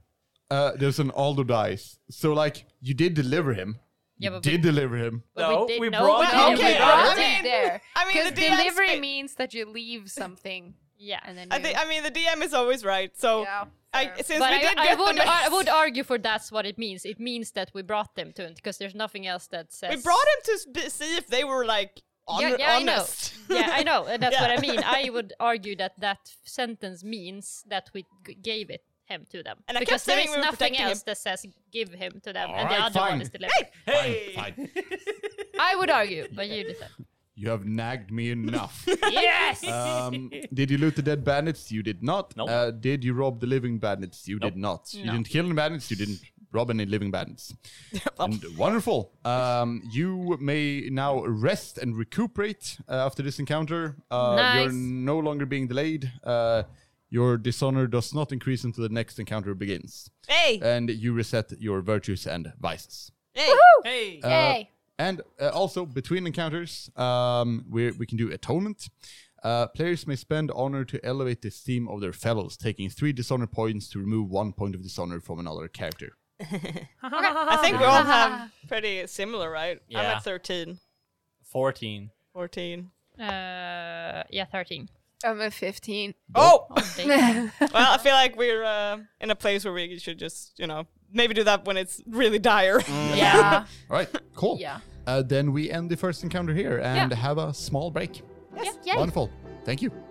Speaker 3: uh, there's an Aldo dice. So like you did deliver him.
Speaker 1: Yeah,
Speaker 3: you
Speaker 1: but we-
Speaker 3: did deliver him.
Speaker 1: But
Speaker 5: No,
Speaker 1: did
Speaker 5: we
Speaker 1: know
Speaker 5: brought
Speaker 1: that
Speaker 2: him
Speaker 1: we
Speaker 2: Okay, with
Speaker 1: were-
Speaker 2: us. I mean-
Speaker 4: there.
Speaker 2: I mean, the
Speaker 4: Because
Speaker 2: DM's
Speaker 4: delivery
Speaker 2: bit-
Speaker 4: means that you leave something
Speaker 1: Yeah.
Speaker 4: and then
Speaker 2: I
Speaker 4: you-
Speaker 2: think I mean the DM is always right. So
Speaker 4: Yeah,
Speaker 2: I,
Speaker 4: fair.
Speaker 2: since
Speaker 1: but
Speaker 2: we
Speaker 1: I,
Speaker 2: did
Speaker 1: I
Speaker 2: get
Speaker 1: would,
Speaker 2: the
Speaker 1: ar- I
Speaker 2: mace,
Speaker 1: would argue for that's what it means. It means that we brought them to him because there's nothing else that says.
Speaker 2: we brought him to sp- see if they were like hon-
Speaker 1: Yeah, yeah, I know.
Speaker 2: honest.
Speaker 1: yeah, I know. and That's
Speaker 2: Yeah.
Speaker 1: what I mean. I would argue that that f- sentence means that we g- gave it him to them.
Speaker 2: And I kept
Speaker 1: because there
Speaker 2: saying
Speaker 1: is
Speaker 2: we were
Speaker 1: nothing
Speaker 2: protecting him.
Speaker 1: else that says give him to them,
Speaker 3: All
Speaker 1: and the
Speaker 3: right,
Speaker 1: other one
Speaker 3: fine.
Speaker 1: is delivered.
Speaker 5: Hey!
Speaker 3: Fine, fine.
Speaker 1: I would argue, but you decide.
Speaker 3: You have nagged me enough.
Speaker 1: yes.
Speaker 3: um, did you loot the dead bandits? You did not.
Speaker 5: Nope.
Speaker 3: Uh, did you rob the living bandits? You
Speaker 5: Nope.
Speaker 3: did not. You
Speaker 1: No.
Speaker 3: didn't kill any bandits. You didn't rob any living bandits. And wonderful. Um, you may now rest and recuperate uh, after this encounter. Uh,
Speaker 1: Nice.
Speaker 3: You're no longer being delayed. Uh, your dishonor does not increase until the next encounter begins.
Speaker 2: Hey,
Speaker 3: and you reset your virtues and vices. Uh,
Speaker 2: hey,
Speaker 5: Hey!
Speaker 4: Yay.
Speaker 3: And uh, also between encounters, um, we we can do atonement. Uh, players may spend honor to elevate the esteem of their fellows, taking three dishonor points to remove one point of dishonor from another character.
Speaker 2: I think we all have pretty similar, right? I'm
Speaker 5: Yeah.
Speaker 2: at 13,
Speaker 5: 14.
Speaker 2: 14.
Speaker 1: Uh, yeah, thirteen.
Speaker 4: I'm a 15.
Speaker 2: Oh,
Speaker 1: Thank-
Speaker 2: well, I feel like we're uh, in a place where we should just, you know, maybe do that when it's really dire.
Speaker 3: Mm.
Speaker 4: Yeah.
Speaker 3: All right, cool.
Speaker 4: Yeah.
Speaker 3: Uh, then we end the first encounter here and have a small break.
Speaker 1: yeah.
Speaker 3: Wonderful. Thank you.